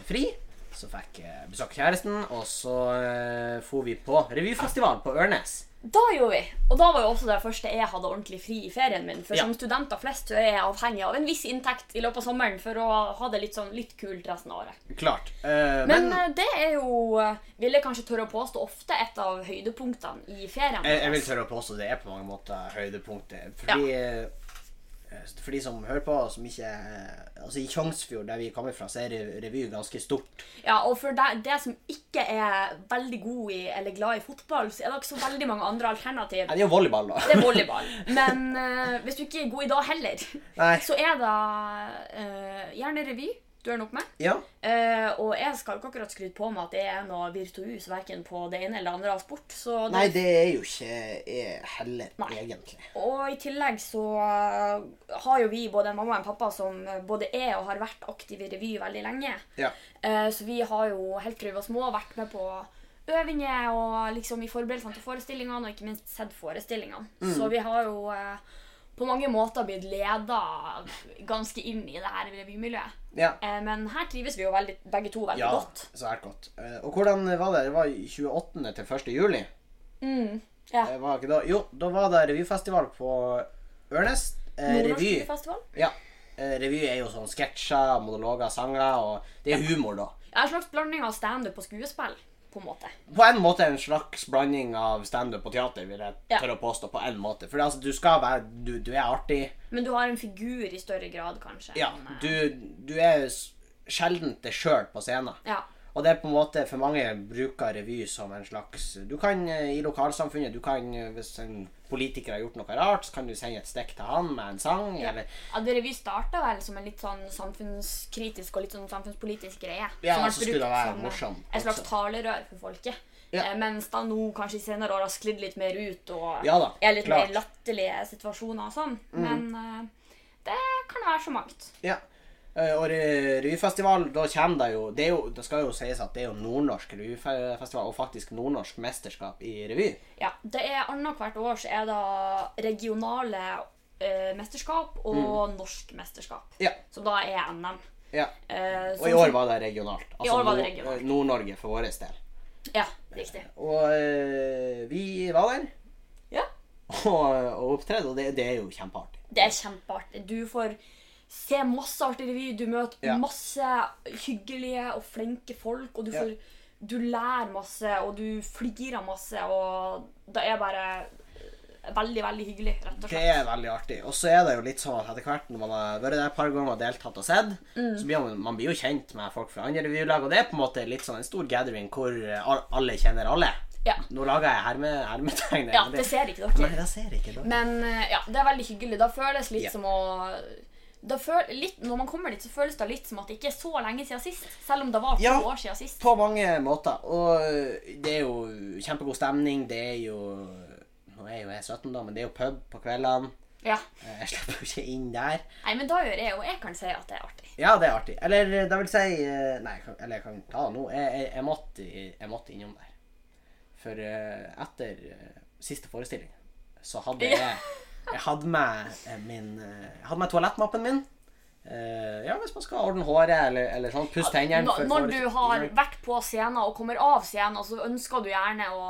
Speaker 1: fri. Så fikk jeg besøk av kjæresten, og så eh, for vi på revyfestival på Ørnes.
Speaker 2: Da gjorde vi. Og da var jo også det første jeg hadde ordentlig fri i ferien min. For
Speaker 1: Ja.
Speaker 2: som studenter flest så er jeg avhengig av en viss inntekt i løpet av sommeren for å ha det litt sånn litt kult resten av året.
Speaker 1: Klart. Eh,
Speaker 2: Men, eh, det er jo, eh, vil jeg kanskje tørre å påstå, ofte et av høydepunktene i ferien.
Speaker 1: Jeg, jeg vil
Speaker 2: vår.
Speaker 1: tørre å påstå det er på mange måter høydepunktet. Fordi, eh, for de som hører på, som ikke eh, Altså, i Tjongsfjord, der vi kommer fra, så er re- revy ganske stort.
Speaker 2: Ja, og for deg det som ikke er veldig god i eller glad i fotball, så er det ikke så veldig mange andre alternativ.
Speaker 1: Nei, det er jo volleyball, da.
Speaker 2: Det er volleyball. Men eh, hvis du ikke er god i dag heller,
Speaker 1: Nei.
Speaker 2: så er det eh, gjerne revy du ender opp med.
Speaker 1: Ja.
Speaker 2: Eh, og jeg skal jo ikke akkurat skryte på meg at jeg er noe virtuos verken på det ene eller det andre av sport. Så det,
Speaker 1: Nei, det er jo ikke er heller,
Speaker 2: Nei.
Speaker 1: egentlig.
Speaker 2: Og i tillegg så eh, har jo vi både en mamma og en pappa som eh, både er og har vært aktive i revy veldig lenge.
Speaker 1: Ja.
Speaker 2: Eh, så vi har jo helt fra vi var små vært med på øvinger og liksom i forberedelsene til forestillingene, og ikke minst sett forestillingene.
Speaker 1: Mm.
Speaker 2: Så vi har jo eh, på mange måter blitt leda ganske inn i det her revymiljøet.
Speaker 1: Ja.
Speaker 2: Eh, men her trives vi jo veldig, begge to veldig
Speaker 1: ja
Speaker 2: godt.
Speaker 1: Svært godt. Eh, og hvordan var det? Det var 28. til 1. juli.
Speaker 2: Mm, ja.
Speaker 1: Eh, var ikke da? Jo, da var det revyfestival på Ørnes. Eh,
Speaker 2: Nordnorsk
Speaker 1: revy.
Speaker 2: Festival?
Speaker 1: Ja. Eh, revy er jo sånn sketsjer, monologer, sanger, og det er humor, da.
Speaker 2: Ja, en slags blanding av standup og skuespill, på en måte.
Speaker 1: på en måte en slags blanding av standup og teater, vil jeg
Speaker 2: Ja.
Speaker 1: tørre å påstå. på en måte. For altså, du skal være Du, du er artig.
Speaker 2: Men du har en figur i større grad, kanskje.
Speaker 1: Ja,
Speaker 2: enn, eh,
Speaker 1: du, du er s- sjelden deg sjøl på scenen.
Speaker 2: eh, ja.
Speaker 1: Og det er på en måte for mange bruker revy som en slags Du kan eh, i lokalsamfunnet du kan, eh, Hvis en politiker har gjort noe rart, så kan du sende et stikk til han med en sang. Eller,
Speaker 2: Ja, det revy starta vel som en litt sånn samfunnskritisk og litt sånn samfunnspolitisk greie.
Speaker 1: Ja,
Speaker 2: som ble
Speaker 1: så skulle
Speaker 2: brukt
Speaker 1: det være
Speaker 2: som
Speaker 1: morsomt
Speaker 2: Et slags
Speaker 1: også.
Speaker 2: talerør for folket.
Speaker 1: Ja.
Speaker 2: Eh, Mens da nå kanskje i senere år har sklidd litt mer ut og
Speaker 1: Ja da,
Speaker 2: er litt
Speaker 1: klart. Mm.
Speaker 2: mer latterlige situasjoner og sånn. Men eh, det kan være så mangt.
Speaker 1: Ja. Eh, Og re- revyfestival, da kommer det jo Det, er jo, det skal jo sies at det er jo nordnorsk revyfestival, og faktisk nordnorsk mesterskap i revy.
Speaker 2: Ja, det er Annethvert år så er det regionale eh, mesterskap og
Speaker 1: Mm.
Speaker 2: norsk mesterskap.
Speaker 1: Ja.
Speaker 2: Som da er NM.
Speaker 1: ja.
Speaker 2: Eh,
Speaker 1: Og i
Speaker 2: sånn
Speaker 1: år
Speaker 2: som-
Speaker 1: var det regionalt. Altså
Speaker 2: I år var det
Speaker 1: Nord-
Speaker 2: regionalt.
Speaker 1: Nord-Norge for vår del.
Speaker 2: Ja, riktig.
Speaker 1: Og eh, vi var der (laughs)
Speaker 2: Ja.
Speaker 1: og, og opptredde, og det, det er jo kjempeartig.
Speaker 2: Det er kjempeartig. Du får se masse artig revy, du møter
Speaker 1: Ja.
Speaker 2: masse hyggelige og flinke folk, og du,
Speaker 1: Ja.
Speaker 2: får, du lærer masse, og du flirer masse, og det er bare eh, veldig, veldig hyggelig, rett og
Speaker 1: Det
Speaker 2: slett.
Speaker 1: er veldig artig. Og så er det jo litt sånn at etter hvert når man har vært der et par ganger og deltatt og sett,
Speaker 2: Mm.
Speaker 1: så blir man, man blir jo kjent med folk fra andre revylag, og det er på en måte litt sånn en stor gathering hvor eh, al- alle kjenner alle.
Speaker 2: Ja.
Speaker 1: Nå lager jeg herme, hermetegn.
Speaker 2: Ja, det ser ikke dere.
Speaker 1: Nei, det ser ikke dere.
Speaker 2: Men eh, ja, det er veldig hyggelig. Da føles litt
Speaker 1: Ja.
Speaker 2: som å da føl, litt, Når man kommer dit, så føles det litt som at det ikke er så lenge siden sist. Selv om det var to
Speaker 1: Ja.
Speaker 2: år siden sist.
Speaker 1: På mange måter. Og eh, det er jo kjempegod stemning. Det er jo Nå er jo jeg 17, da, men det er jo pub på kveldene.
Speaker 2: Ja.
Speaker 1: Eh, Jeg slipper jo ikke inn der.
Speaker 2: Nei, men da gjør jeg jo Jeg kan si at det er artig.
Speaker 1: Ja, det er artig. Eller eh, det vil si eh, Nei, jeg kan- eller jeg kan ta det nå. Jeg, jeg, jeg, måtte, jeg måtte innom der. For eh, etter eh, siste forestilling så hadde jeg Jeg hadde med eh, min eh, Jeg hadde med toalettmappen min. Eh, ja, hvis man skal ordne håret eller, eller sånn. Pusse tennene.
Speaker 2: Når,
Speaker 1: før
Speaker 2: når du har
Speaker 1: forestilling.
Speaker 2: vært på scenen og kommer av scenen, så ønsker du gjerne å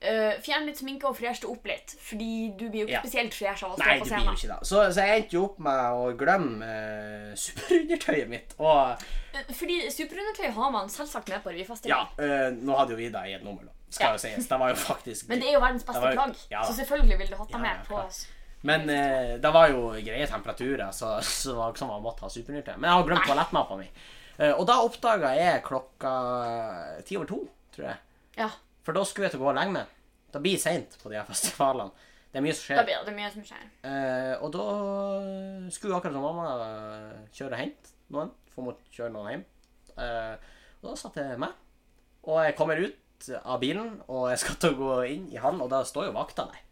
Speaker 2: eh, fjerne litt sminke og freshe det opp litt. Fordi du blir jo ikke
Speaker 1: Ja.
Speaker 2: spesielt fresh av å stå
Speaker 1: Nei,
Speaker 2: på
Speaker 1: du blir jo
Speaker 2: scenen.
Speaker 1: ikke det. Så, så jeg endte jo opp med å glemme eh, (laughs) superundertøyet mitt. Og
Speaker 2: Eh, Fordi superundertøy har man selvsagt med på
Speaker 1: ja,
Speaker 2: revyfestivalen.
Speaker 1: eh, nå hadde jo vi det i et nummer, da. Skal
Speaker 2: Ja.
Speaker 1: jo sies. Det var jo faktisk
Speaker 2: (laughs) Men det er jo verdens beste
Speaker 1: Det var jo-
Speaker 2: plagg,
Speaker 1: ja.
Speaker 2: så selvfølgelig vil du
Speaker 1: Ja,
Speaker 2: hatt deg med
Speaker 1: ja,
Speaker 2: på
Speaker 1: klart. Men eh, det var jo greie temperaturer, så, så det var ikke sånn man måtte ha superundertøy. Men jeg har glemt toalettmappa mi. Eh, og da oppdaga jeg klokka ti over to, tror jeg.
Speaker 2: Ja,
Speaker 1: For da skulle jeg til å gå og legge meg. Det blir seint på de her festivalene. Det er mye som
Speaker 2: da
Speaker 1: skjer.
Speaker 2: blir det mye som skjer.
Speaker 1: Eh, og da skulle akkurat som mamma eh, kjøre og hente noen, for hun måtte kjøre noen hjem. Eh, og da satt jeg meg, og jeg kommer ut av bilen, og jeg skal til å gå inn i hallen, og da står jo vakta der.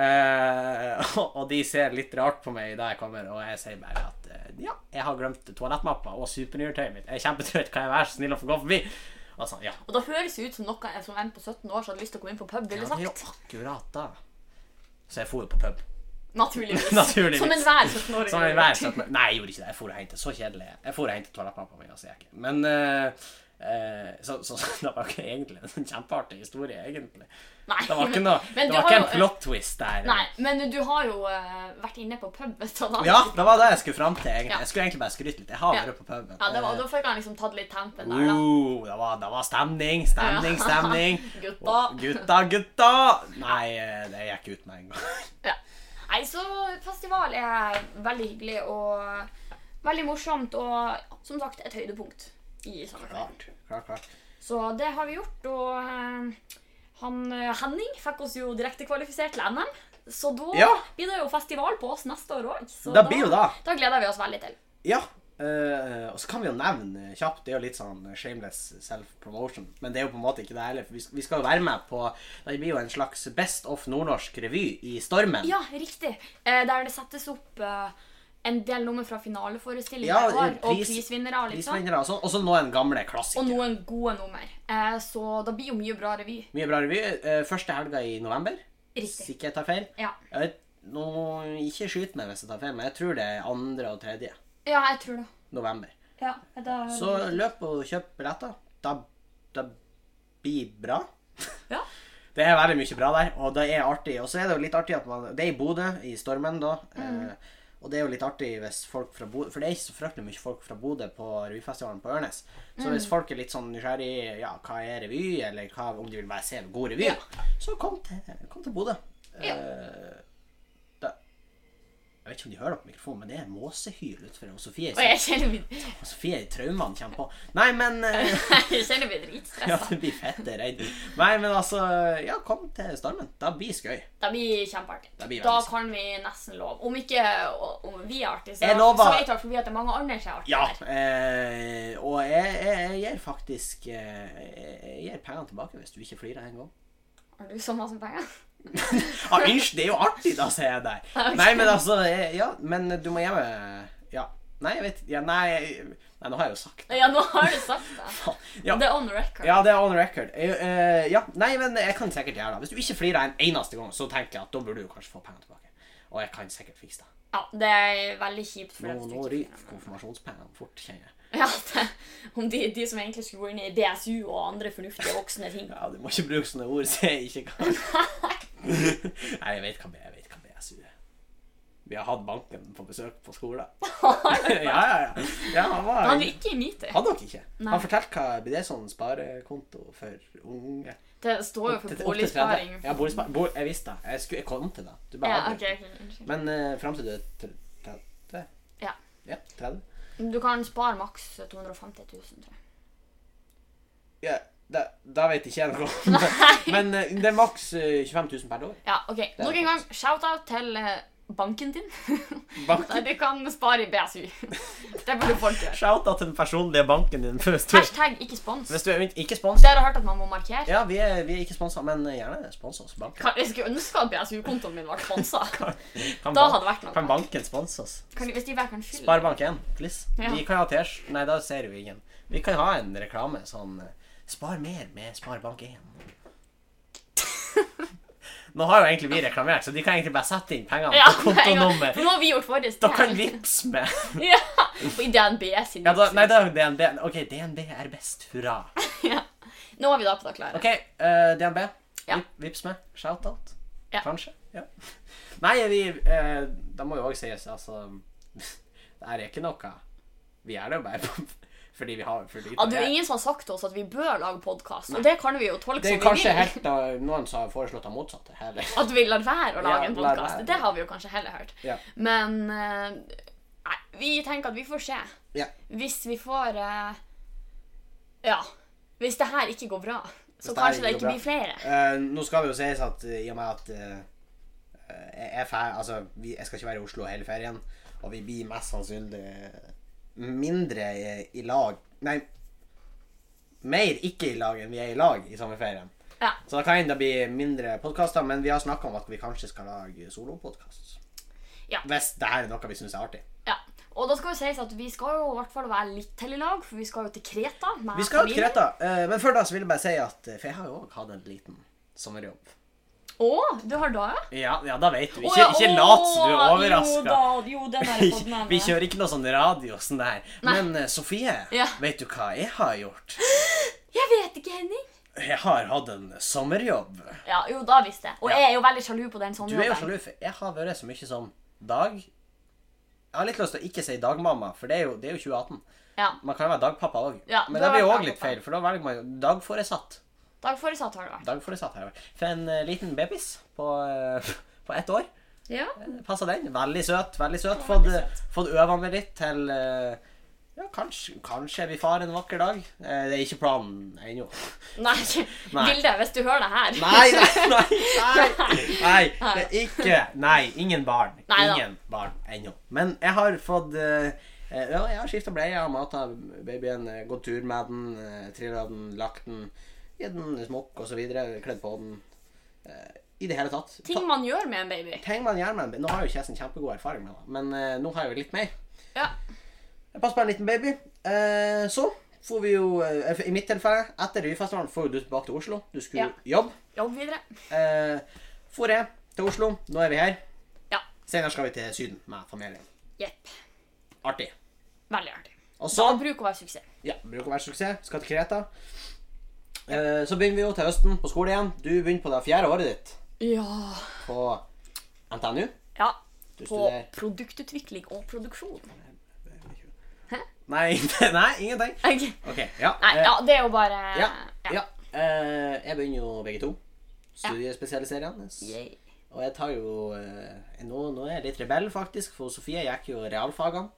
Speaker 1: Eh, (laughs) og de ser litt rart på meg da jeg kommer, og jeg sier bare at eh, ja, jeg har glemt toalettmappa og supernyretøyet mitt. Jeg er kjempetrøtt, kan jeg være så snill å få gå forbi? Og sånn, ja.
Speaker 2: Og da høres det ut som noe som en på 17 år som hadde lyst til å komme inn på pub,
Speaker 1: ja,
Speaker 2: ville
Speaker 1: det er jo
Speaker 2: sagt.
Speaker 1: akkurat da. Så jeg for jo på pub.
Speaker 2: Naturligvis.
Speaker 1: (laughs) Naturligvis.
Speaker 2: Som enhver 17-åring.
Speaker 1: Som en hver 17 Nei, jeg gjorde ikke det. Jeg for og hentet. Så kjedelig. Jeg for og hentet toalettpappa mi, altså. Jeg gikk. Men eh, Eh, så, så, så (laughs) det var ikke egentlig en kjempeartig historie, egentlig.
Speaker 2: Nei.
Speaker 1: Det var ikke, noe, det
Speaker 2: Men du
Speaker 1: var
Speaker 2: har
Speaker 1: ikke en
Speaker 2: jo-
Speaker 1: plot twist der.
Speaker 2: Nei, men du har jo eh, vært inne på pub. Så da,
Speaker 1: Ja, det var det jeg skulle fram til. egentlig.
Speaker 2: Ja.
Speaker 1: Jeg skulle egentlig bare skryte litt. Jeg har
Speaker 2: Ja.
Speaker 1: vært på puben.
Speaker 2: Ja, det var, da fikk han liksom tatt litt tempen der, da.
Speaker 1: Oh, det, var, det var stemning, stemning,
Speaker 2: Ja. (laughs)
Speaker 1: stemning.
Speaker 2: Gutta.
Speaker 1: Og gutta, gutta! Nei, eh, det gikk ut med en gang. (laughs)
Speaker 2: Ja. Nei, så festival er veldig hyggelig og veldig morsomt og som sagt et høydepunkt i sommerferien.
Speaker 1: Klart, klart, klart.
Speaker 2: Så det har vi gjort, og eh, han eh, Henning fikk oss jo direktekvalifisert til NM. Så da
Speaker 1: Ja.
Speaker 2: blir det jo festival på oss neste år òg. Så
Speaker 1: Da blir jo da.
Speaker 2: da gleder vi oss veldig til.
Speaker 1: Ja. eh, og så kan vi jo nevne eh, kjapt, det er jo litt sånn shameless self-promotion. Men det er jo på en måte ikke det heller, for vi skal, vi skal jo være med på Det blir jo en slags Best of nordnorsk revy i Stormen.
Speaker 2: Ja, riktig. Eh, der det settes opp eh, en del nummer fra finaleforestillinger
Speaker 1: Ja,
Speaker 2: i år, og
Speaker 1: pris-
Speaker 2: prisvinnere. liksom.
Speaker 1: Prisvinnere og sånn. Og så noen gamle klassikere.
Speaker 2: Og noen gode nummer. Eh, så det blir jo mye bra revy.
Speaker 1: Mye bra revy. Eh, Første helga i november.
Speaker 2: Riktig.
Speaker 1: Hvis ikke jeg tar feil.
Speaker 2: Ja.
Speaker 1: Jeg vet, nå, ikke skyt meg hvis jeg tar feil, men jeg tror det er andre og tredje
Speaker 2: ja, jeg tror det.
Speaker 1: november.
Speaker 2: Ja, da...
Speaker 1: Så løp og kjøp billetter. Da, da blir bra.
Speaker 2: Ja.
Speaker 1: Det er veldig mye bra der, og det er artig. Og så er det jo litt artig at man Det er i Bodø, i stormen, da. Eh, og det er jo litt artig hvis folk fra Bodø For det er ikke så fryktelig mye folk fra Bodø på revyfestivalen på Ørnes. Så hvis folk er litt sånn nysgjerrig ja, hva er revy, eller hva, om de vil bare se god revy,
Speaker 2: Ja.
Speaker 1: så kom til, kom til Bodø.
Speaker 2: Ja.
Speaker 1: Eh, da, jeg vet ikke om de hører det på mikrofonen, men det er måsehyl utenfor og Sofie.
Speaker 2: Og jeg kjenner meg, (laughs)
Speaker 1: Og Sofie er i traumene kommer på. Nei, men eh, (laughs)
Speaker 2: jeg kjenner meg
Speaker 1: Ja,
Speaker 2: dritstressa.
Speaker 1: du blir fette redd. Nei, men altså Ja, kom til stormen. Da blir skøy.
Speaker 2: Det blir kjempeartig.
Speaker 1: Det blir veldig
Speaker 2: da
Speaker 1: skøy.
Speaker 2: kan vi nesten love. Om ikke og- om vi er artige, så,
Speaker 1: Jeg lover-
Speaker 2: så vet i hvert fall vi at det er mange andre som er
Speaker 1: Ja.
Speaker 2: artige.
Speaker 1: Eh, og jeg, jeg, jeg gir faktisk eh, Jeg gir pengene tilbake hvis du ikke flirer en gang.
Speaker 2: (laughs) Har du så masse penger? (laughs)
Speaker 1: Ah, Unnskyld, det er jo artig, da, sier jeg der.
Speaker 2: Ja, ok.
Speaker 1: Nei, men altså eh, Ja, men du må hjemme Ja. Nei, jeg vet ja, nei, jeg- nei, nå har jeg jo sagt
Speaker 2: (laughs)
Speaker 1: det.
Speaker 2: Ja, nå har du sagt det.
Speaker 1: Ja.
Speaker 2: Det er on record.
Speaker 1: Ja, det er on record. Eh, eh, ja, nei, men jeg kan sikkert gjøre det. Hvis du ikke flirer en eneste gang, så tenker jeg at da burde du kanskje få pengene tilbake. Og jeg kan sikkert fikse det.
Speaker 2: Ja, det er veldig kjipt. For
Speaker 1: Nå,
Speaker 2: at du
Speaker 1: nå
Speaker 2: ikke
Speaker 1: ryker
Speaker 2: finner noe.
Speaker 1: konfirmasjonspengene fort, kjenner jeg.
Speaker 2: Ja, det, (laughs) om de, de som egentlig skulle gå inn i BSU og andre fornuftige voksne ting. (laughs)
Speaker 1: Ja, du må ikke bruke sånne ord som jeg ikke kan. Nei, jeg vet hva jeg, jeg vet hva BSU er. Vi har hatt banken på besøk på
Speaker 2: (laughs)
Speaker 1: skolen. ja, ja, ja. ja han var,
Speaker 2: Han er ikke i meeting.
Speaker 1: han nok ikke.
Speaker 2: Nei.
Speaker 1: Han fortalte hva blir det sånn sparekonto for unge
Speaker 2: Det står jo
Speaker 1: Til-
Speaker 2: for
Speaker 1: til-
Speaker 2: boligsparing.
Speaker 1: opp til 30. Ja, boligsparing. Bo, jeg visste det. Jeg, skulle, jeg kom til det. Du bare
Speaker 2: Ja,
Speaker 1: hadde
Speaker 2: ok,
Speaker 1: det.
Speaker 2: ok, unnskyld.
Speaker 1: Men uh, fram til du er tr- 30?
Speaker 2: Ja.
Speaker 1: Ja, 30.
Speaker 2: Du kan spare maks 250 000, tror jeg.
Speaker 1: Ja, da, da vet ikke jeg noe om
Speaker 2: (laughs)
Speaker 1: det. Men eh, det er maks eh, 25 000 per år.
Speaker 2: Ja, ok.
Speaker 1: er
Speaker 2: Nok en gang, shout-out til eh, banken din. Der
Speaker 1: (laughs) Banken.
Speaker 2: du kan spare i BSU.
Speaker 1: (laughs)
Speaker 2: Det burde folk gjøre.
Speaker 1: Shout-out til den personlige banken din. (laughs) Hvis du,
Speaker 2: Hashtag ikke spons.
Speaker 1: hvis du er ikke
Speaker 2: Så
Speaker 1: sponset
Speaker 2: jeg har hørt at man må markere.
Speaker 1: Ja, vi er, vi er ikke sponset, men gjerne spons oss. Banken.
Speaker 2: Kan- Jeg skulle ønske at BSU-kontoen min var
Speaker 1: (laughs)
Speaker 2: sponsa.
Speaker 1: Kan,
Speaker 2: Da
Speaker 1: ban-
Speaker 2: hadde det vært noe.
Speaker 1: kan banken sponse oss?
Speaker 2: Kan- Hvis de bare kan fylle
Speaker 1: Sparebank1, please.
Speaker 2: Ja.
Speaker 1: Vi kan ha tesj. Nei, da ser jo ingen. Vi kan ha en reklame sånn eh, Spar mer med
Speaker 2: (laughs)
Speaker 1: Sparebank1. Nå har jo egentlig vi reklamert, så de kan egentlig bare sette inn pengene
Speaker 2: Ja, (laughs)
Speaker 1: på
Speaker 2: med en gang.
Speaker 1: kontonummer.
Speaker 2: For nå har vi gjort vårt.
Speaker 1: Da kan vips med
Speaker 2: (laughs) Ja, og i DNB sin
Speaker 1: ja, da, Nei, da er DNB. OK, DNB er best. Hurra.
Speaker 2: Ja. Nå er vi da på det klare.
Speaker 1: OK, eh, DNB.
Speaker 2: Ja.
Speaker 1: Vip- Vips med. Shout-out.
Speaker 2: Ja.
Speaker 1: Kanskje. Ja. (laughs) Nei, vi eh, Det må jo òg sies, altså (laughs) Det her er ikke noe Vi er det jo bare på- (laughs) fordi vi har fordi
Speaker 2: Ja, det er jo ingen som har sagt til oss at vi bør lage podkast, og det kan vi jo tolke
Speaker 1: Det er
Speaker 2: som
Speaker 1: jo
Speaker 2: vi
Speaker 1: kanskje
Speaker 2: vil.
Speaker 1: helt da, noen som har foreslått det motsatte. Heller.
Speaker 2: (laughs) At vi lar være å lage
Speaker 1: Ja,
Speaker 2: en
Speaker 1: lar
Speaker 2: podkast.
Speaker 1: være.
Speaker 2: Det har vi jo kanskje heller hørt.
Speaker 1: Ja.
Speaker 2: Men eh, nei, vi tenker at vi får se.
Speaker 1: Ja.
Speaker 2: Hvis vi får eh, Ja. Hvis det her ikke går bra, så
Speaker 1: Hvis det her
Speaker 2: kanskje det
Speaker 1: ikke
Speaker 2: ikke
Speaker 1: går
Speaker 2: blir flere.
Speaker 1: Eh, nå skal det jo sies at eh, i og med at eh, eh, jeg er fer, altså, vi, jeg skal ikke være i Oslo hele ferien, og vi blir mest sannsynlig mindre i, i lag Nei, mer ikke i lag enn vi er i lag i sommerferien.
Speaker 2: Ja.
Speaker 1: Så da kan det bli mindre podkaster, men vi har snakka om at vi kanskje skal lage solopodkast.
Speaker 2: Ja.
Speaker 1: Hvis det her er noe vi syns er artig.
Speaker 2: ja. Og da skal jo sies at vi skal jo i hvert fall være litt til i lag, for vi skal jo til Kreta. Med
Speaker 1: Vi skal ha
Speaker 2: familien.
Speaker 1: Kreta, eh, men før da så vil jeg bare si at eh, For jeg har jo òg hatt en liten sommerjobb.
Speaker 2: Å, du har da, ja?
Speaker 1: Ja, ja, da vet du.
Speaker 2: Å,
Speaker 1: Ikke,
Speaker 2: ja,
Speaker 1: ikke
Speaker 2: å,
Speaker 1: lat som du er
Speaker 2: Jo
Speaker 1: overraska.
Speaker 2: da, jo, den har jeg fått med meg.
Speaker 1: Vi kjører ikke noe sånn radio og sånn der. Men eh, Sofie,
Speaker 2: Ja.
Speaker 1: vet du hva jeg har gjort?
Speaker 2: visste ikke Henning.
Speaker 1: Jeg har hatt en sommerjobb.
Speaker 2: Ja, jo, da visste jeg. Og
Speaker 1: Ja.
Speaker 2: jeg er jo veldig sjalu på den
Speaker 1: Du er jo
Speaker 2: sommerjobben.
Speaker 1: sjalu, for jeg har vært så mye som dag Jeg har litt lyst til å ikke si dagmamma, for det er jo, det er jo 2018.
Speaker 2: Ja.
Speaker 1: Man kan jo være dagpappa òg.
Speaker 2: Ja,
Speaker 1: Men
Speaker 2: du
Speaker 1: det
Speaker 2: har
Speaker 1: blir jo
Speaker 2: vært
Speaker 1: òg litt
Speaker 2: dagpappa.
Speaker 1: feil, for da velger man jo dagforesatt.
Speaker 2: Dagforesatt har du vært.
Speaker 1: Dagforesatt her. For en eh, liten babys på, eh, (laughs) på ett år.
Speaker 2: Ja.
Speaker 1: Passa den. Veldig søt. veldig søt.
Speaker 2: Å,
Speaker 1: Fått,
Speaker 2: veldig
Speaker 1: eh, fått øva meg litt til eh, ja, kanskje, kanskje jeg blir far en vakker dag. Eh, Det er ikke planen ennå.
Speaker 2: Nei.
Speaker 1: Nei.
Speaker 2: Vilde, hvis du hører det her
Speaker 1: Nei, nei, nei! Nei, nei det er ikke Nei, ingen barn.
Speaker 2: Neida.
Speaker 1: Ingen barn ennå. Men jeg har fått eh, eh, Ja, jeg har skifta bleie, jeg har mata babyen, eh, gått tur med den, eh, trilla den, lagt den, gitt den smokk osv., kledd på den. Eh, I det hele tatt.
Speaker 2: Ting man gjør med en baby.
Speaker 1: Ting man gjør med en Nå har jo ikke jeg sånn kjempegod erfaring med det, men eh, nå har jeg jo litt mer.
Speaker 2: Ja.
Speaker 1: Jeg passer på en liten baby. Eh, så får vi jo, eh, i mitt tilfelle, etter Ryfestivalen får jo du tilbake til Oslo. Du skulle
Speaker 2: Ja.
Speaker 1: jobbe.
Speaker 2: Jobb videre.
Speaker 1: Eh, for jeg til Oslo. Nå er vi her.
Speaker 2: Ja.
Speaker 1: Senere skal vi til Syden med familien.
Speaker 2: Jepp.
Speaker 1: Artig.
Speaker 2: Veldig artig.
Speaker 1: Og så
Speaker 2: Da bruker å være suksess.
Speaker 1: ja, bruker å være suksess. Skal til Kreta. Eh, så begynner vi jo til høsten på skole igjen. Du begynner på det fjerde året ditt
Speaker 2: Ja.
Speaker 1: på NTNU.
Speaker 2: ja.
Speaker 1: Du
Speaker 2: På
Speaker 1: studerer
Speaker 2: produktutvikling og produksjon. (laughs)
Speaker 1: Nei, nei, ingenting.
Speaker 2: Ok.
Speaker 1: OK. Ja.
Speaker 2: Nei,
Speaker 1: eh,
Speaker 2: ja, det er jo bare
Speaker 1: ja, ja. Eh, jeg begynner jo begge to. Studiespesialiserende.
Speaker 2: Yay.
Speaker 1: Og jeg tar jo eh, nå, nå er jeg litt rebell, faktisk, for Sofie gikk jo realfagene.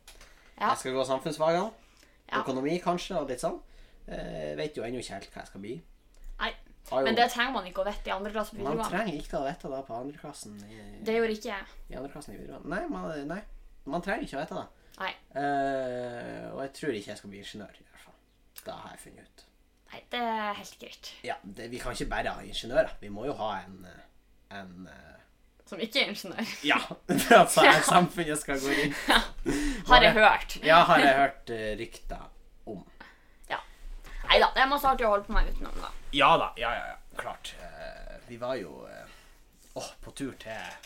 Speaker 2: Ja.
Speaker 1: Jeg skal gå samfunnsfagene.
Speaker 2: Ja.
Speaker 1: Økonomi, kanskje, og litt sånn. Eh, vet jo ennå ikke helt hva jeg skal bli.
Speaker 2: Nei.
Speaker 1: Har jo-
Speaker 2: Men det trenger man ikke å vite i andre klasse på
Speaker 1: man
Speaker 2: videregående.
Speaker 1: trenger ikke å vite det på andreklassen i,
Speaker 2: Det gjorde ikke jeg.
Speaker 1: i andreklassen i videregående. Nei, man, nei, man trenger ikke å vite det.
Speaker 2: Nei.
Speaker 1: Eh, og jeg tror ikke jeg skal bli ingeniør, i hvert fall. Det har jeg funnet ut.
Speaker 2: Nei, det er helt greit.
Speaker 1: Ja, det, Vi kan ikke bare ha ingeniører. Vi må jo ha en, eh, en eh,
Speaker 2: Som ikke er ingeniør.
Speaker 1: Ja! (laughs) altså, at samfunnet skal gå rundt.
Speaker 2: Har jeg hørt.
Speaker 1: Ja, har jeg hørt eh, rykter om.
Speaker 2: Nei da, det er masse artig å holde på meg utenom, da.
Speaker 1: Ja da. Ja, ja, ja. Klart. Eh, vi var jo eh, åh, på tur til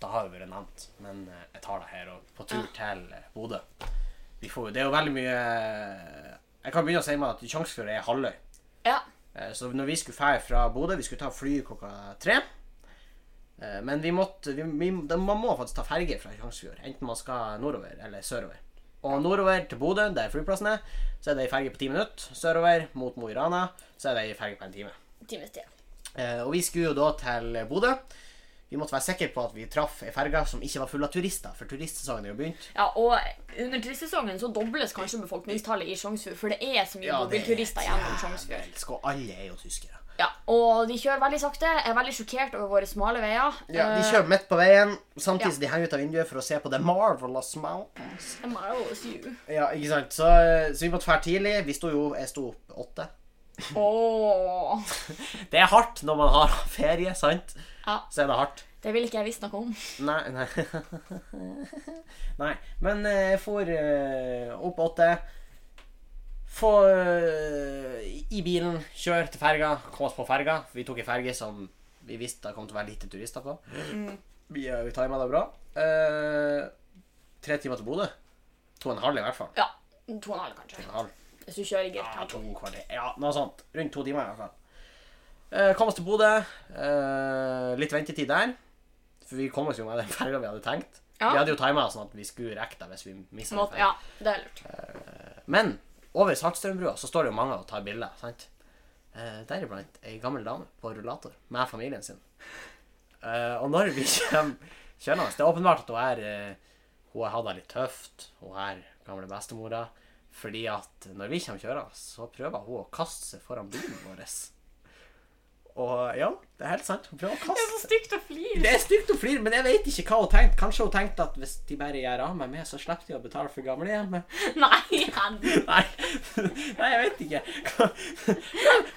Speaker 1: Det har jo vært nevnt, men eh, jeg tar det her. Og på tur til eh, Bodø. Vi får jo Det er jo veldig mye eh, Jeg kan begynne å si meg at Tjongsfjord er halvøy.
Speaker 2: Ja.
Speaker 1: Eh, Så når vi skulle fære fra Bodø Vi skulle ta fly klokka tre. Eh, Men vi måtte vi, vi, da- Man må faktisk ta ferge fra Tjongsfjord. Enten man skal nordover eller sørover. Og nordover til Bodø, der flyplassen er, så er det ei ferge på ti minutter. Sørover mot Mo i Rana, så er det ei ferge på en time.
Speaker 2: Times tid.
Speaker 1: Eh, Og vi skulle jo da til Bodø. Vi måtte være sikre på at vi traff ei ferge som ikke var full av turister, for turistsesongen er jo begynt.
Speaker 2: Ja, og under turistsesongen så dobles kanskje befolkningstallet i Sjongsfjord, for det er så mye mobilturister gjennom Sjongsfjord.
Speaker 1: Elsk, og alle er jo tyskere.
Speaker 2: Ja, og de kjører veldig sakte, er veldig sjokkert over våre smale veier.
Speaker 1: Ja, De kjører midt på veien, samtidig som de henger ut av vinduet for å se på The Marvelous Mountains.
Speaker 2: Eh, Marvelous you.
Speaker 1: Ja, ikke sant. Så, eh, så vi måtte fære tidlig. Vi sto jo, jeg sto opp åtte.
Speaker 2: Åh.
Speaker 1: Det er hardt når man har (laughs) ferie, sant?
Speaker 2: Ja,
Speaker 1: Så er det hardt.
Speaker 2: det vil ikke jeg visst noe om.
Speaker 1: Nei, nei. (laughs) nei. Men eh, jeg for eh, opp åtte. Få eh, i bilen, kjøre til ferga, kom oss på ferga. Vi tok ei ferge som vi visste det kom til å være lite turister på. Vi, eh, vi tima det bra. Eh, tre timer til Bodø. To og en halv i hvert fall.
Speaker 2: Ja, to og en halv kanskje.
Speaker 1: En halv.
Speaker 2: Hvis du kjører i
Speaker 1: Ja,
Speaker 2: gitt.
Speaker 1: to kvarter. Ja, noe sånt. Rundt to timer i hvert fall. Eh, kom oss til Bodø. Eh, litt ventetid der. For vi kom oss jo med den ferga vi hadde tenkt.
Speaker 2: Ja.
Speaker 1: Vi hadde jo timet sånn at vi skulle rekke det hvis vi mista
Speaker 2: Måte, ja, det er lurt.
Speaker 1: Men over Saltstrømbrua så står det jo mange og tar bilder, sant? Eh, Deriblant ei gammel dame på rullator med familien sin. Eh, og når vi (laughs) kommer kjørende Det er åpenbart at hun er eh, Hun har hatt det litt tøft. Hun er gamle bestemora. Fordi at når vi kommer kjørende, så prøver hun å kaste seg foran bilen vår. Og ja, det er helt sant. Hun prøver å kaste seg.
Speaker 2: stygt å flire.
Speaker 1: Det er stygt å flire, men jeg vet ikke hva hun tenkte. Kanskje hun tenkte at hvis de bare gjør av med meg, så slipper de å betale for gamlehjemmet.
Speaker 2: (laughs) Nei, Henrik.
Speaker 1: Nei, nei, jeg vet ikke.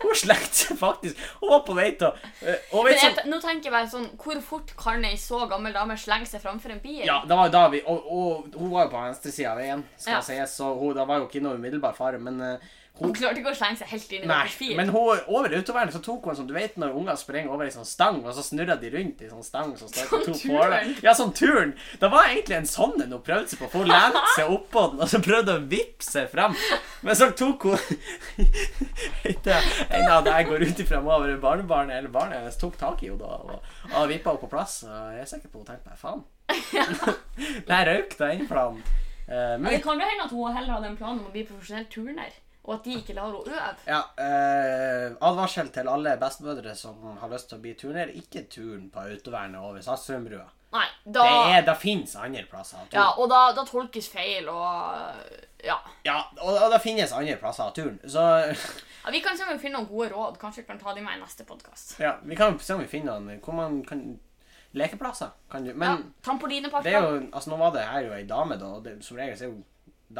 Speaker 1: Hun slengte seg faktisk. Hun var på vei til å Hun
Speaker 2: Men
Speaker 1: vet
Speaker 2: jeg,
Speaker 1: sånn
Speaker 2: te- nå tenker jeg bare sånn, hvor fort kan ei så gammel dame slenge seg framfor en bil?
Speaker 1: ja, det var jo da vi, og, og hun var jo på venstresida av veien, skal
Speaker 2: Ja.
Speaker 1: sies, så hun, det var jo ikke noe umiddelbar fare. Men eh,
Speaker 2: Hun klarte ikke å slenge seg helt inn i
Speaker 1: Nei,
Speaker 2: deres fil.
Speaker 1: men hun, over autovernet så tok hun som du vet når unger springer over ei sånn stang, og så snurrer de rundt i sånn stang som står på
Speaker 2: Sånn
Speaker 1: to
Speaker 2: turn.
Speaker 1: påler. Ja, sånn turn. Det var egentlig en sånn en hun prøvde seg på, for hun lente seg oppå den, og så prøvde hun å vippe seg fram. Men så tok hun Ikke en av det jeg går ut ifra må være barnebarnet eller barnet hennes, tok tak i henne da, og, og vippa henne på plass. Og jeg er sikker på hun tenkte bare faen. (laughs) Der røyk da den planen. Eh,
Speaker 2: Men
Speaker 1: Men
Speaker 2: det kan jo hende at hun heller hadde en plan om å bli profesjonell turner, og at de ikke lar henne øve.
Speaker 1: Ja, eh, advarsel til alle bestemødre som har lyst til å bli turner. Ikke turn på autovernet over Satsumbrua.
Speaker 2: Nei,
Speaker 1: Det,
Speaker 2: da
Speaker 1: er- det fins andre plasser å turne.
Speaker 2: Ja, og da, da tolkes feil, og ja.
Speaker 1: Ja, og, og det finnes andre plasser å turne. Så (laughs)
Speaker 2: ja. Vi kan se om vi finner noen gode råd. Kanskje vi kan ta dem med i neste podkast.
Speaker 1: ja, vi kan se om vi finner noen hvor man kan Lekeplasser kan du
Speaker 2: Ja,
Speaker 1: Men det er
Speaker 2: (laughs) Trampolineparker.
Speaker 1: jo Altså, nå var det her jo ei dame, da, og det, som regel så er jo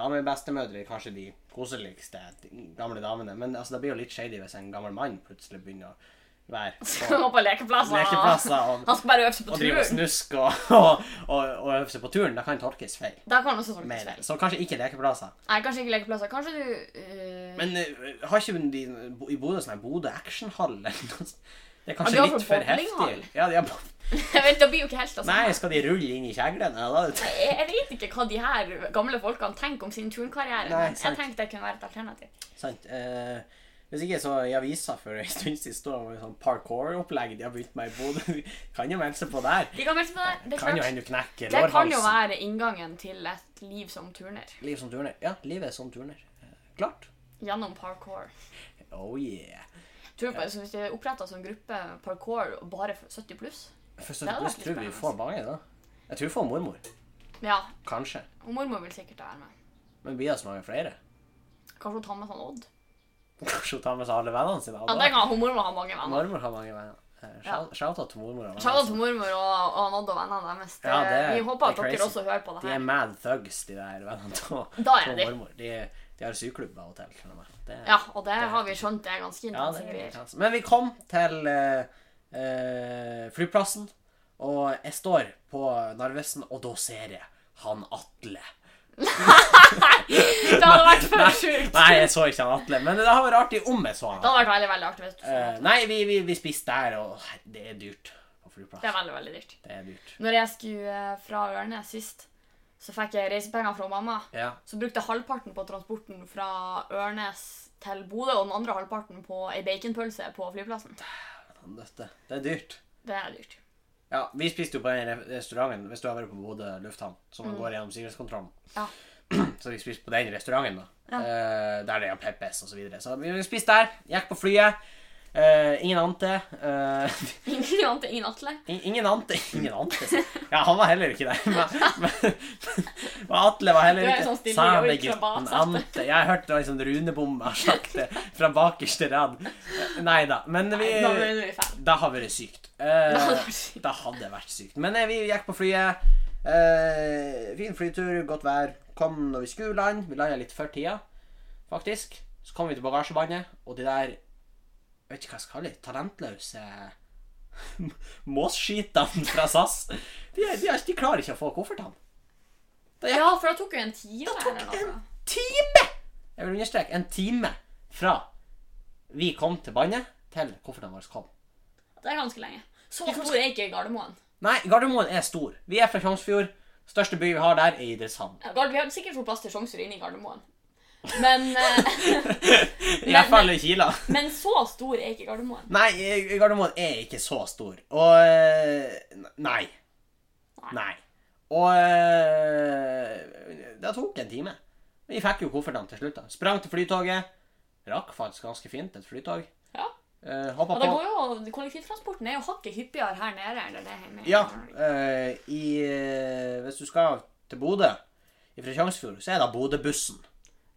Speaker 1: damebestemødre kanskje de koseligste de gamle damene. Men altså, det blir jo litt shady hvis en gammel mann plutselig begynner å være
Speaker 2: (laughs)
Speaker 1: på
Speaker 2: Skal gå på lekeplasser.
Speaker 1: lekeplasser. og...
Speaker 2: Han skal bare øve seg
Speaker 1: og
Speaker 2: på
Speaker 1: drive og
Speaker 2: turen.
Speaker 1: snuske og, og, og, og øve seg på turen, det kan tolkes feil.
Speaker 2: Da kan også tolkes
Speaker 1: Mer.
Speaker 2: feil.
Speaker 1: Så kanskje ikke lekeplasser.
Speaker 2: Nei, kanskje ikke lekeplasser. Kanskje du eh, (laughs)
Speaker 1: Men eh, har ikke de bo- i Bodø sånn her Bodø actionhall eller noe sånt? Det er
Speaker 2: de
Speaker 1: kanskje
Speaker 2: har
Speaker 1: litt
Speaker 2: for
Speaker 1: for
Speaker 2: bowlinghall.
Speaker 1: heftig. Ja, de har, bo-
Speaker 2: Jeg vet, det blir jo ikke helt det
Speaker 1: nei,
Speaker 2: samme.
Speaker 1: skal de rulle inn i kjeglene? Ja, da er det-
Speaker 2: Jeg, jeg vet ikke hva de her gamle folkene tenker om sin turnkarriere.
Speaker 1: Nei,
Speaker 2: men jeg
Speaker 1: sant.
Speaker 2: tenkte det kunne være et alternativ.
Speaker 1: Sant. eh, hvis ikke, så i avisa for en stund siden står det om sånn parkour-opplegg de har begynt med i Bodø. (laughs) Kan jo melde seg på der.
Speaker 2: De kan melde seg på det. Det, er
Speaker 1: Kan jo
Speaker 2: klart.
Speaker 1: hende du knekker
Speaker 2: det kan jo
Speaker 1: lårhalsen.
Speaker 2: være inngangen til et liv som turner.
Speaker 1: Liv som turner. Ja, livet som turner. Eh, Klart.
Speaker 2: Gjennom parkour.
Speaker 1: Oh yeah.
Speaker 2: Tror du på, så Hvis det er oppretta som gruppe parkour bare for 70 pluss
Speaker 1: For
Speaker 2: Det hadde
Speaker 1: 70
Speaker 2: vært
Speaker 1: pluss
Speaker 2: litt
Speaker 1: tror vi
Speaker 2: spennende.
Speaker 1: får mange, da. Jeg tror vi får mormor.
Speaker 2: Ja,
Speaker 1: Kanskje.
Speaker 2: og mormor vil sikkert være med.
Speaker 1: Men blir det så mange flere?
Speaker 2: Kanskje hun tar med sånn Odd?
Speaker 1: Kanskje hun tar med seg alle vennene sine?
Speaker 2: Ja,
Speaker 1: da.
Speaker 2: den gang hun mormor har mange venner.
Speaker 1: Mormor har mange venner. Eh,
Speaker 2: Ja.
Speaker 1: shout- Shout-out til mormor. og
Speaker 2: Shout out
Speaker 1: vennene
Speaker 2: til mormor og, og Odd og vennene deres. Det,
Speaker 1: Ja, det er-
Speaker 2: vi håper at
Speaker 1: det er
Speaker 2: dere
Speaker 1: crazy.
Speaker 2: også hører på det
Speaker 1: sine. De er
Speaker 2: her.
Speaker 1: mad thugs, de der vennene til
Speaker 2: (laughs) Da er
Speaker 1: til
Speaker 2: de.
Speaker 1: mormor. De, de har syklubber av og til. skjønner du meg. Det-
Speaker 2: Ja, og det har vi skjønt det er ganske
Speaker 1: ja, det
Speaker 2: intense
Speaker 1: er
Speaker 2: (laughs)
Speaker 1: litt
Speaker 2: greier.
Speaker 1: hans. Men vi kom til eh, eh, flyplassen, og jeg står på Narvesen, og da ser jeg han Atle.
Speaker 2: Det hadde vært for sjukt!
Speaker 1: (laughs) Nei, jeg så ikke han Atle, men det hadde vært artig om jeg så han.
Speaker 2: Det hadde vært veldig veldig artig. hvis du så
Speaker 1: Eh,
Speaker 2: det.
Speaker 1: nei, vi, vi, vi spiste der, og her- det er dyrt på flyplass.
Speaker 2: Det er veldig, veldig dyrt.
Speaker 1: Det er dyrt.
Speaker 2: Når jeg skulle eh, fra Ørnes sist, så fikk jeg reisepenger fra mamma.
Speaker 1: Ja.
Speaker 2: Så brukte jeg halvparten på transporten fra Ørnes til Bodø, og den andre halvparten på ei baconpølse på flyplassen.
Speaker 1: faen, Dette. Det er dyrt.
Speaker 2: Det er dyrt. (laughs)
Speaker 1: Ja, vi spiste jo på den re- restauranten hvis du har vært på Bodø lufthavn, som går gjennom sikkerhetskontrollen.
Speaker 2: Ja.
Speaker 1: (clears throat) Så vi spiste på den restauranten, da. Eh, der det er Peppes og så videre. Så vi spiste der, gikk på flyet. Eh, ingen ante. eh, (laughs)
Speaker 2: Ingen ante, ingen Atle.
Speaker 1: in- ingen ante Ingen ante, sa jeg. Ja, han var heller ikke der. Men, men, men Atle var heller
Speaker 2: Det er
Speaker 1: ikke
Speaker 2: sånn stille joik fra
Speaker 1: Samegutten
Speaker 2: bak, sant?
Speaker 1: Ante. Jeg hørte liksom runebomma sakte fra bakerste rad. Nei da. Men vi
Speaker 2: Nå ble vi fan.
Speaker 1: det har vært
Speaker 2: (laughs)
Speaker 1: sykt. Eh,
Speaker 2: Det hadde vært sykt.
Speaker 1: det hadde vært sykt. Men eh, vi gikk på flyet. Eh, fin flytur, godt vær. Kom når vi skulle lande. Vi landa litt før tida, faktisk. Så kom vi til bagasjebåndet, og de der Jeg vet ikke hva jeg skal kalle de, talentløse (laughs) måsskitene fra SAS de, er- de, er- de klarer ikke å få koffertene.
Speaker 2: Ja, for det tok jo en time
Speaker 1: tok
Speaker 2: eller noe.
Speaker 1: Time! Jeg vil understreke en time fra vi kom til bandet, til koffertene våre kom.
Speaker 2: Det er ganske lenge. Så stor er ikke Gardermoen.
Speaker 1: Nei, Gardermoen er stor. Vi er fra Tjongsfjord. Største by vi har der, er Idrettshavn.
Speaker 2: (laughs) Ja, Gard, vi hadde sikkert fått plass til Sjongsrud inne i Gardermoen. Men, eh, (laughs)
Speaker 1: I hvert fall i Kila.
Speaker 2: men så stor er ikke Gardermoen.
Speaker 1: Nei, eh, Gardermoen er ikke så stor. Og eh, Nei. Nei. Og eh, Det tok en time. Vi fikk jo koffertene til slutt. da. Sprang til flytoget. Rakk faktisk ganske fint et flytog.
Speaker 2: Ja.
Speaker 1: Uh,
Speaker 2: Og
Speaker 1: Hoppa
Speaker 2: det
Speaker 1: på.
Speaker 2: går jo, Kollektivtransporten er jo hakket hyppigere her nede enn det er hjemme.
Speaker 1: Ja, eh, i, eh, hvis du skal til Bodø fra Tjongsfjord, så er det Bodø-bussen.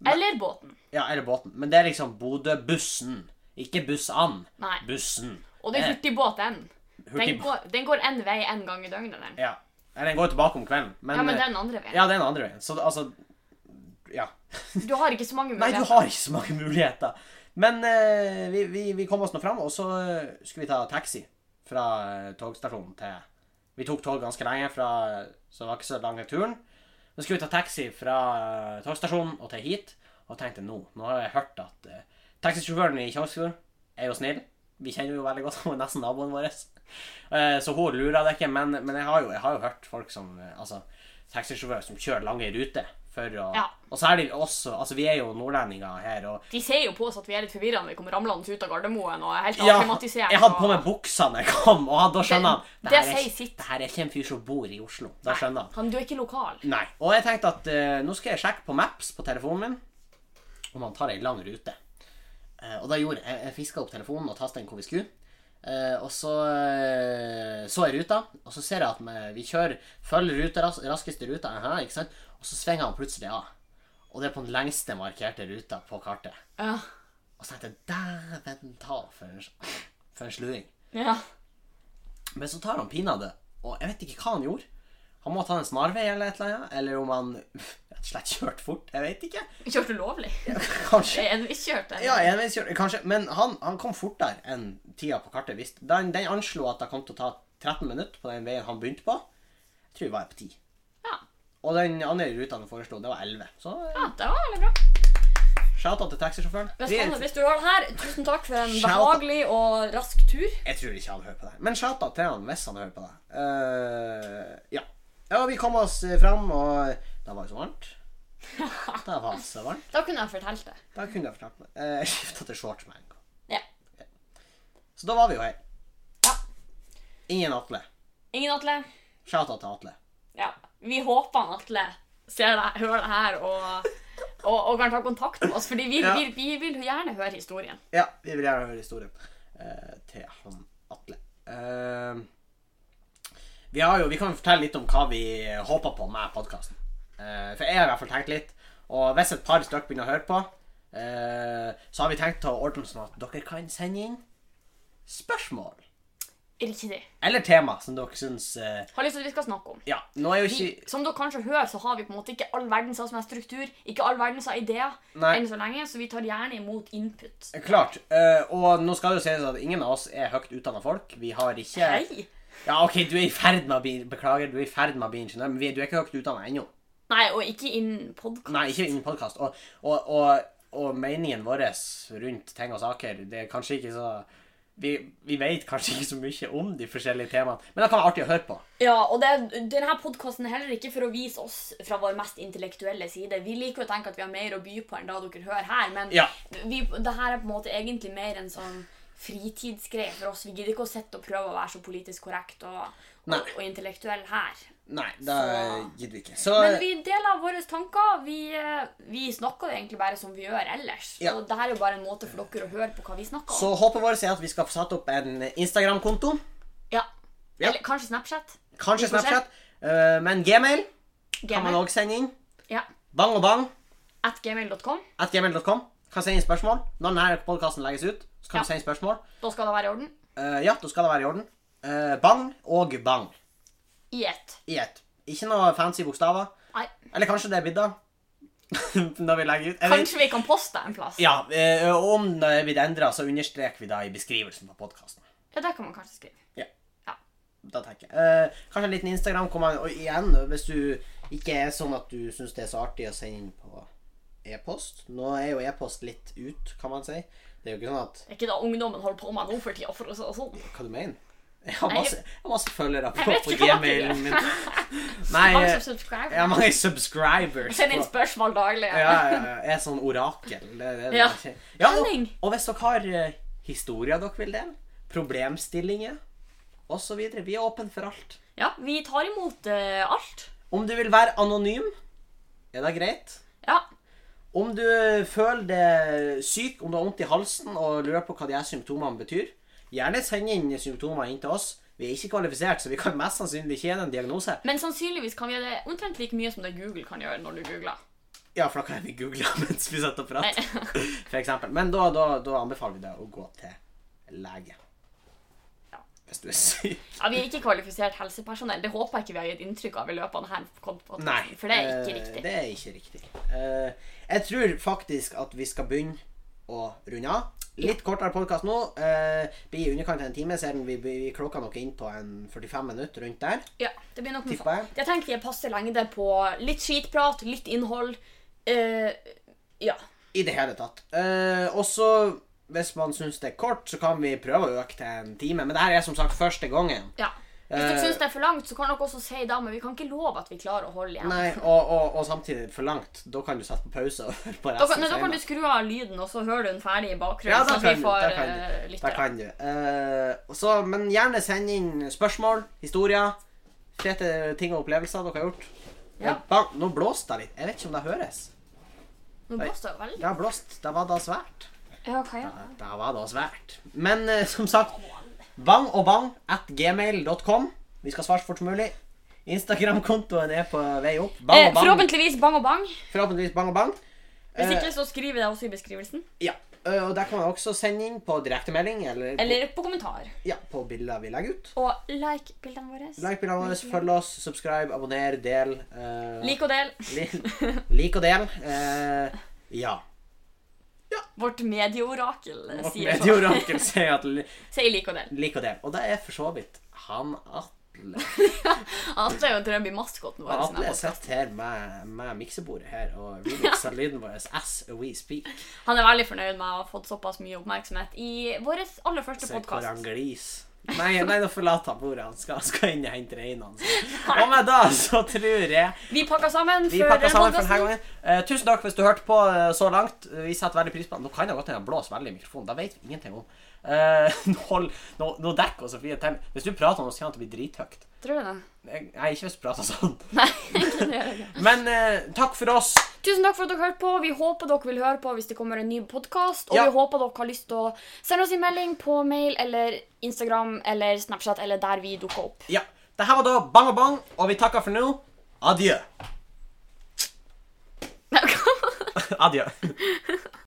Speaker 2: Eller båten.
Speaker 1: Ja, eller båten. Men det er liksom Bodø-bussen. Ikke bussene.
Speaker 2: Nei.
Speaker 1: Bussen.
Speaker 2: Og det er hurtigbåt, den. Den
Speaker 1: Hurtig-
Speaker 2: går, den går en vei en gang i døgnet. Den.
Speaker 1: Ja. Nei, Den går tilbake om kvelden. Men,
Speaker 2: Ja, men
Speaker 1: eh,
Speaker 2: den andre veien.
Speaker 1: Ja, den andre veien. Så det- altså Ja.
Speaker 2: Du har ikke så mange
Speaker 1: Nei, du
Speaker 2: muligheter.
Speaker 1: har ikke så mange muligheter. Men eh, vi, vi, vi kom oss nå fram, og så eh, skulle vi ta taxi fra eh, togstasjonen til Vi tok tog ganske lenge, fra, så det var ikke så lang turen. Så skulle vi ta taxi fra eh, togstasjonen og til hit. Og tenkte nå Nå har jeg hørt at eh, taxisjåføren i Tjongsfjord er jo snill. Vi kjenner jo veldig godt (laughs) han er nesten naboen vår. Eh, så hun lurer deg ikke, men, men jeg, har jo, jeg har jo hørt folk som eh, Altså, taxisjåfører som kjører lange ruter for å
Speaker 2: Ja.
Speaker 1: Og særlig også Altså, vi er jo nordlendinger her, og
Speaker 2: De ser jo på oss at vi er litt forvirra når vi kommer ramlende ut av Gardermoen og er helt
Speaker 1: Ja,
Speaker 2: akklimatisert.
Speaker 1: jeg hadde
Speaker 2: og-
Speaker 1: på meg buksa da jeg kom, og han, da skjønner han
Speaker 2: Det-
Speaker 1: det her er
Speaker 2: det sier
Speaker 1: ikke-
Speaker 2: sitt.
Speaker 1: Det her er ikke en fyr som bor i Oslo. Da skjønner han.
Speaker 2: Han, du er ikke lokal.
Speaker 1: Nei. Og jeg tenkte at eh, nå skal jeg sjekke på Maps på telefonen min om han tar ei lang rute. Eh, og da gjorde jeg Jeg fiska opp telefonen og tasta inn hvor vi skulle. Eh, og så eh, så jeg ruta, og så ser jeg at vi- vi kjører følger ruta, ras, raskeste ruta, aha, ikke sant? og så svinger han plutselig av. Og det er på den lengste markerte ruta på kartet.
Speaker 2: Ja.
Speaker 1: Og så tenkte jeg dæven ta for en, for en sluring.
Speaker 2: ja.
Speaker 1: Men så tar han pinadø, og jeg vet ikke hva han gjorde. Han må ha tatt en snarvei eller et eller annet, eller om han pff, rett og slett kjørte fort. Jeg vet ikke.
Speaker 2: Kjørte ulovlig.
Speaker 1: Kanskje.
Speaker 2: En vi kjørte.
Speaker 1: Ja, enveiskjørt, kanskje. Men han, han kom fortere enn tida på kartet visste. Den, den anslo at det kom til å ta 13 minutter på den veien han begynte på. Jeg tror vi var på 10.
Speaker 2: Ja.
Speaker 1: Og den andre ruta han foreslo, det var 11. Så eh,
Speaker 2: Ja, det var veldig bra.
Speaker 1: shout-out til taxisjåføren.
Speaker 2: Ah. Hvis,
Speaker 1: Vi-
Speaker 2: han, hvis du hører det her, tusen takk for en
Speaker 1: Shout out.
Speaker 2: behagelig og rask tur.
Speaker 1: Jeg tror ikke han hører på deg. Men shout-out til han hvis han hører på deg. Eh, ja. ja, vi kom oss eh, fram, og det var jo så
Speaker 2: (laughs)
Speaker 1: varmt. Det var så varmt.
Speaker 2: Da kunne jeg fortalt det.
Speaker 1: Da kunne jeg fortalt meg. Eh, Jeg skifta til shorts med en gang.
Speaker 2: Ja.
Speaker 1: Så da var vi jo her.
Speaker 2: Ja.
Speaker 1: Ingen Atle.
Speaker 2: Ingen Atle?
Speaker 1: Shout-out til Atle.
Speaker 2: Ja. Vi håper han Atle ser deg, hører det her og, og, og kan ta kontakt med oss. Fordi vi,
Speaker 1: Ja.
Speaker 2: vi, vi vil jo gjerne høre historien.
Speaker 1: Ja, vi vil gjerne høre historien eh, til han Atle. Eh, vi, har jo, vi kan jo fortelle litt om hva vi håper på med podkasten. for jeg har i hvert fall tenkt litt. Og hvis et par stykker begynner å høre på, eh, så har vi tenkt å ordne sånn at dere kan sende inn spørsmål.
Speaker 2: Riktig.
Speaker 1: Eller tema som dere syns eh,
Speaker 2: Har lyst til at vi skal snakke om.
Speaker 1: Ja, nå er jo
Speaker 2: Vi,
Speaker 1: ikke
Speaker 2: som dere kanskje hører, så har vi på en måte ikke all verdens sånn som er struktur, ikke all verdens av ideer
Speaker 1: Nei.
Speaker 2: enn så lenge, så vi tar gjerne imot input.
Speaker 1: Klart. eh, og nå skal det jo sies at ingen av oss er høyt utdanna folk. Vi har ikke
Speaker 2: Hei!
Speaker 1: Ja, OK, du er i ferd med å bli Beklager, du er i ferd med å bli ingeniør, men vi, du er ikke høyt utdanna ennå.
Speaker 2: Nei, og ikke innen podkast.
Speaker 1: Nei, ikke innen podkast. Og, og, og, og meningen vår rundt ting og saker, det er kanskje ikke så vi, vi vet kanskje ikke så mye om de forskjellige temaene, men det kan være artig å høre på.
Speaker 2: Ja, og det, denne podkasten er heller ikke for å vise oss fra vår mest intellektuelle side. Vi liker jo å tenke at vi har mer å by på enn det dere hører her, men
Speaker 1: Ja.
Speaker 2: vi, det her er på en måte egentlig mer en sånn fritidsgreie for oss. Vi gidder ikke å sitte og prøve å være så politisk korrekt og,
Speaker 1: Nei.
Speaker 2: og, og intellektuell her.
Speaker 1: Nei, det
Speaker 2: Så-
Speaker 1: gidder vi ikke. Så
Speaker 2: Men vi deler våre tanker. Vi, eh, vi snakker jo egentlig bare som vi gjør ellers.
Speaker 1: Ja.
Speaker 2: Og det her er jo bare en måte for dere å høre på hva vi snakker om.
Speaker 1: så håpet vårt er at vi skal få satt opp en Instagram-konto.
Speaker 2: Ja.
Speaker 1: Ja.
Speaker 2: Eller kanskje Snapchat.
Speaker 1: Kanskje
Speaker 2: Vi får se.
Speaker 1: Snapchat. eh, men Gmail kan man
Speaker 2: Gmail.
Speaker 1: òg sende inn.
Speaker 2: Ja.
Speaker 1: Bang og bang
Speaker 2: At gmail.com.
Speaker 1: at gmail.com. Kan sende inn spørsmål. Når denne podkasten legges ut, så kan
Speaker 2: Ja.
Speaker 1: du sende spørsmål.
Speaker 2: Da skal det være i orden.
Speaker 1: Eh, ja, da skal det være i orden. Eh, bang og bang
Speaker 2: I ett.
Speaker 1: i ett. Ikke noe fancy bokstaver.
Speaker 2: Nei.
Speaker 1: Eller kanskje det er bidda. (laughs) Når vi legger ut. Jeg vet-
Speaker 2: Kanskje vi kan poste en plass?
Speaker 1: Ja, eh, og om det er blitt endra, så understreker vi da i beskrivelsen på podkasten.
Speaker 2: Ja, det kan man kanskje skrive.
Speaker 1: Da tenker jeg. Eh, kanskje en liten Instagram hvor man, og igjen, hvis du ikke er sånn at du syns det er så artig å sende inn på e-post. Nå er jo e-post litt ut, kan man si. Det er jo ikke sånn at
Speaker 2: Det er ikke det ungdommen holder på med nå for tida, for å si det sånn.
Speaker 1: Hva du mener Jeg har
Speaker 2: Nei,
Speaker 1: masse, jeg har masse følgere på,
Speaker 2: jeg vet
Speaker 1: på
Speaker 2: ikke hva det er.
Speaker 1: gmailen min. Nei,
Speaker 2: Mange
Speaker 1: eh,
Speaker 2: som subscriber.
Speaker 1: jeg har mange subscribers.
Speaker 2: Send
Speaker 1: på-
Speaker 2: inn spørsmål daglig.
Speaker 1: ja, ja, ja. Jeg er sånn orakel. Det, det, det
Speaker 2: Ja.
Speaker 1: er- ja og,
Speaker 2: Henning.
Speaker 1: og hvis dere har eh, historier dere vil dele, problemstillinger osv. Vi er åpne for alt.
Speaker 2: Ja, vi tar imot eh, alt.
Speaker 1: Om du vil være anonym, er det greit.
Speaker 2: Ja.
Speaker 1: Om du eh, føler deg syk, om du har vondt i halsen og lurer på hva de her symptomene betyr, gjerne send inn symptomer inn til oss. Vi er ikke kvalifisert, så vi kan mest sannsynlig ikke gi deg en diagnose.
Speaker 2: Men sannsynligvis kan vi gjøre det omtrent like mye som det Google kan gjøre når du googler.
Speaker 1: Ja, for da kan vi google (laughs) mens vi sitter og prater,
Speaker 2: Nei. (laughs)
Speaker 1: for eksempel. Men da, da, da anbefaler vi deg å gå til lege.
Speaker 2: Ja.
Speaker 1: Hvis du er syk.
Speaker 2: Ja, Vi er ikke kvalifisert helsepersonell. Det håper jeg ikke vi har gitt inntrykk av i løpet av denne podcasten, For det er ikke
Speaker 1: eh,
Speaker 2: riktig.
Speaker 1: Det er ikke riktig. Eh, jeg tror faktisk at vi skal begynne å runde av. Litt kortere podkast nå. eh, blir i underkant av en time, ser vi, vi klokka nok inn på en 45 minutter rundt der.
Speaker 2: Ja, det blir nok noe
Speaker 1: Tipper jeg.
Speaker 2: sånt. Jeg tenker vi er passe lengde på litt skitprat, litt innhold. eh, ja.
Speaker 1: I det hele tatt. Eh, også, hvis man syns det er kort, så kan vi prøve å øke til en time. Men det her er som sagt første gangen.
Speaker 2: Ja. Hvis dere
Speaker 1: Eh,
Speaker 2: syns det er for langt, så kan dere også si da, men vi kan ikke love at vi klarer å holde igjen.
Speaker 1: Nei, og, og, og samtidig for langt. Da kan du sette på pause (laughs) og høre på
Speaker 2: Da kan, nei,
Speaker 1: resten.
Speaker 2: da kan du
Speaker 1: senere.
Speaker 2: skru av lyden, og så hører du den ferdig i bakgrunnen.
Speaker 1: ja, da
Speaker 2: sånn at
Speaker 1: kan
Speaker 2: vi
Speaker 1: du.
Speaker 2: får
Speaker 1: Da kan du.
Speaker 2: eh,
Speaker 1: Da
Speaker 2: lyttere.
Speaker 1: kan du. Eh, og så, men gjerne send inn spørsmål, historier, fete ting og opplevelser dere har gjort.
Speaker 2: Ja.
Speaker 1: Eh, Bang, nå blåste det litt. Jeg vet ikke om det høres.
Speaker 2: Nå blåser det veldig.
Speaker 1: Det har blåst. Det var da svært.
Speaker 3: Ja, hva ja.
Speaker 1: Det var da svært. Men eh, som sagt, bang og bang at gmail.com. Vi skal svare så fort som mulig. Instagram-kontoen er på vei opp. Bang
Speaker 2: Eh,
Speaker 1: og bang.
Speaker 2: forhåpentligvis bang og bang.
Speaker 1: Forhåpentligvis bang og bang.
Speaker 2: Hvis
Speaker 1: Eh,
Speaker 2: ikke, så skriver jeg det også i beskrivelsen.
Speaker 1: Ja. eh, Og der kan man også sende inn på direktemelding eller, på-
Speaker 2: Eller på kommentar.
Speaker 1: ja, på bilder vi legger ut.
Speaker 3: Og like bildene våre.
Speaker 1: Like bildene våre, følg oss, subscribe, abonner, del. eh,
Speaker 2: Lik og del.
Speaker 1: li,
Speaker 2: (laughs)
Speaker 1: lik og del. eh, ja.
Speaker 2: Vårt medieorakel eh,
Speaker 1: Vårt
Speaker 2: sier så.
Speaker 1: medieorakel sier at li,
Speaker 2: Sier lik og del.
Speaker 1: lik og del. Og det er for så vidt han Atle.
Speaker 2: Atle er jo drømmemaskoten vår. sånn
Speaker 1: Atle
Speaker 2: her.
Speaker 1: sitter her med, med miksebordet her, og vi mikser lyden vår as we speak.
Speaker 2: Han er veldig fornøyd med å ha fått såpass mye oppmerksomhet i vår aller første
Speaker 1: Se hvor han
Speaker 2: podkast.
Speaker 1: glis. Nei, nei, nå forlater han bordet. Han skal, han skal inn og hente reinen
Speaker 2: (laughs)
Speaker 1: hans. Og med det så tror jeg
Speaker 2: Vi pakka sammen
Speaker 1: Vi
Speaker 2: for
Speaker 1: pakker sammen for
Speaker 2: podcasten.
Speaker 1: denne gangen. Eh, tusen takk hvis du hørte på eh, så langt. Eh, Vi setter veldig pris på det. Nå kan det godt hende jeg blåser veldig i mikrofonen. Det vet vi ingenting om. Eh, (laughs) nå hold- nå, nå dekker Sofie til. Hvis du prater om noe, så kan det bli drithøyt.
Speaker 2: Tror du det?
Speaker 1: Jeg- Nei, ikke hvis du prater sånn.
Speaker 2: (laughs) Nei, det gjør jeg ikke.
Speaker 1: Men eh, takk for oss.
Speaker 2: Tusen takk for at dere hørte på. Vi håper dere vil høre på hvis det kommer en ny podkast. Og
Speaker 1: Ja.
Speaker 2: vi håper dere har lyst til å sende oss en melding på mail eller Instagram eller Snapchat eller der vi dukker opp. (laughs)
Speaker 1: Ja. Det her var da Bang og Bang, og vi takker for nå. Adjø. (laughs)
Speaker 2: Nei, hva?
Speaker 1: Adjø.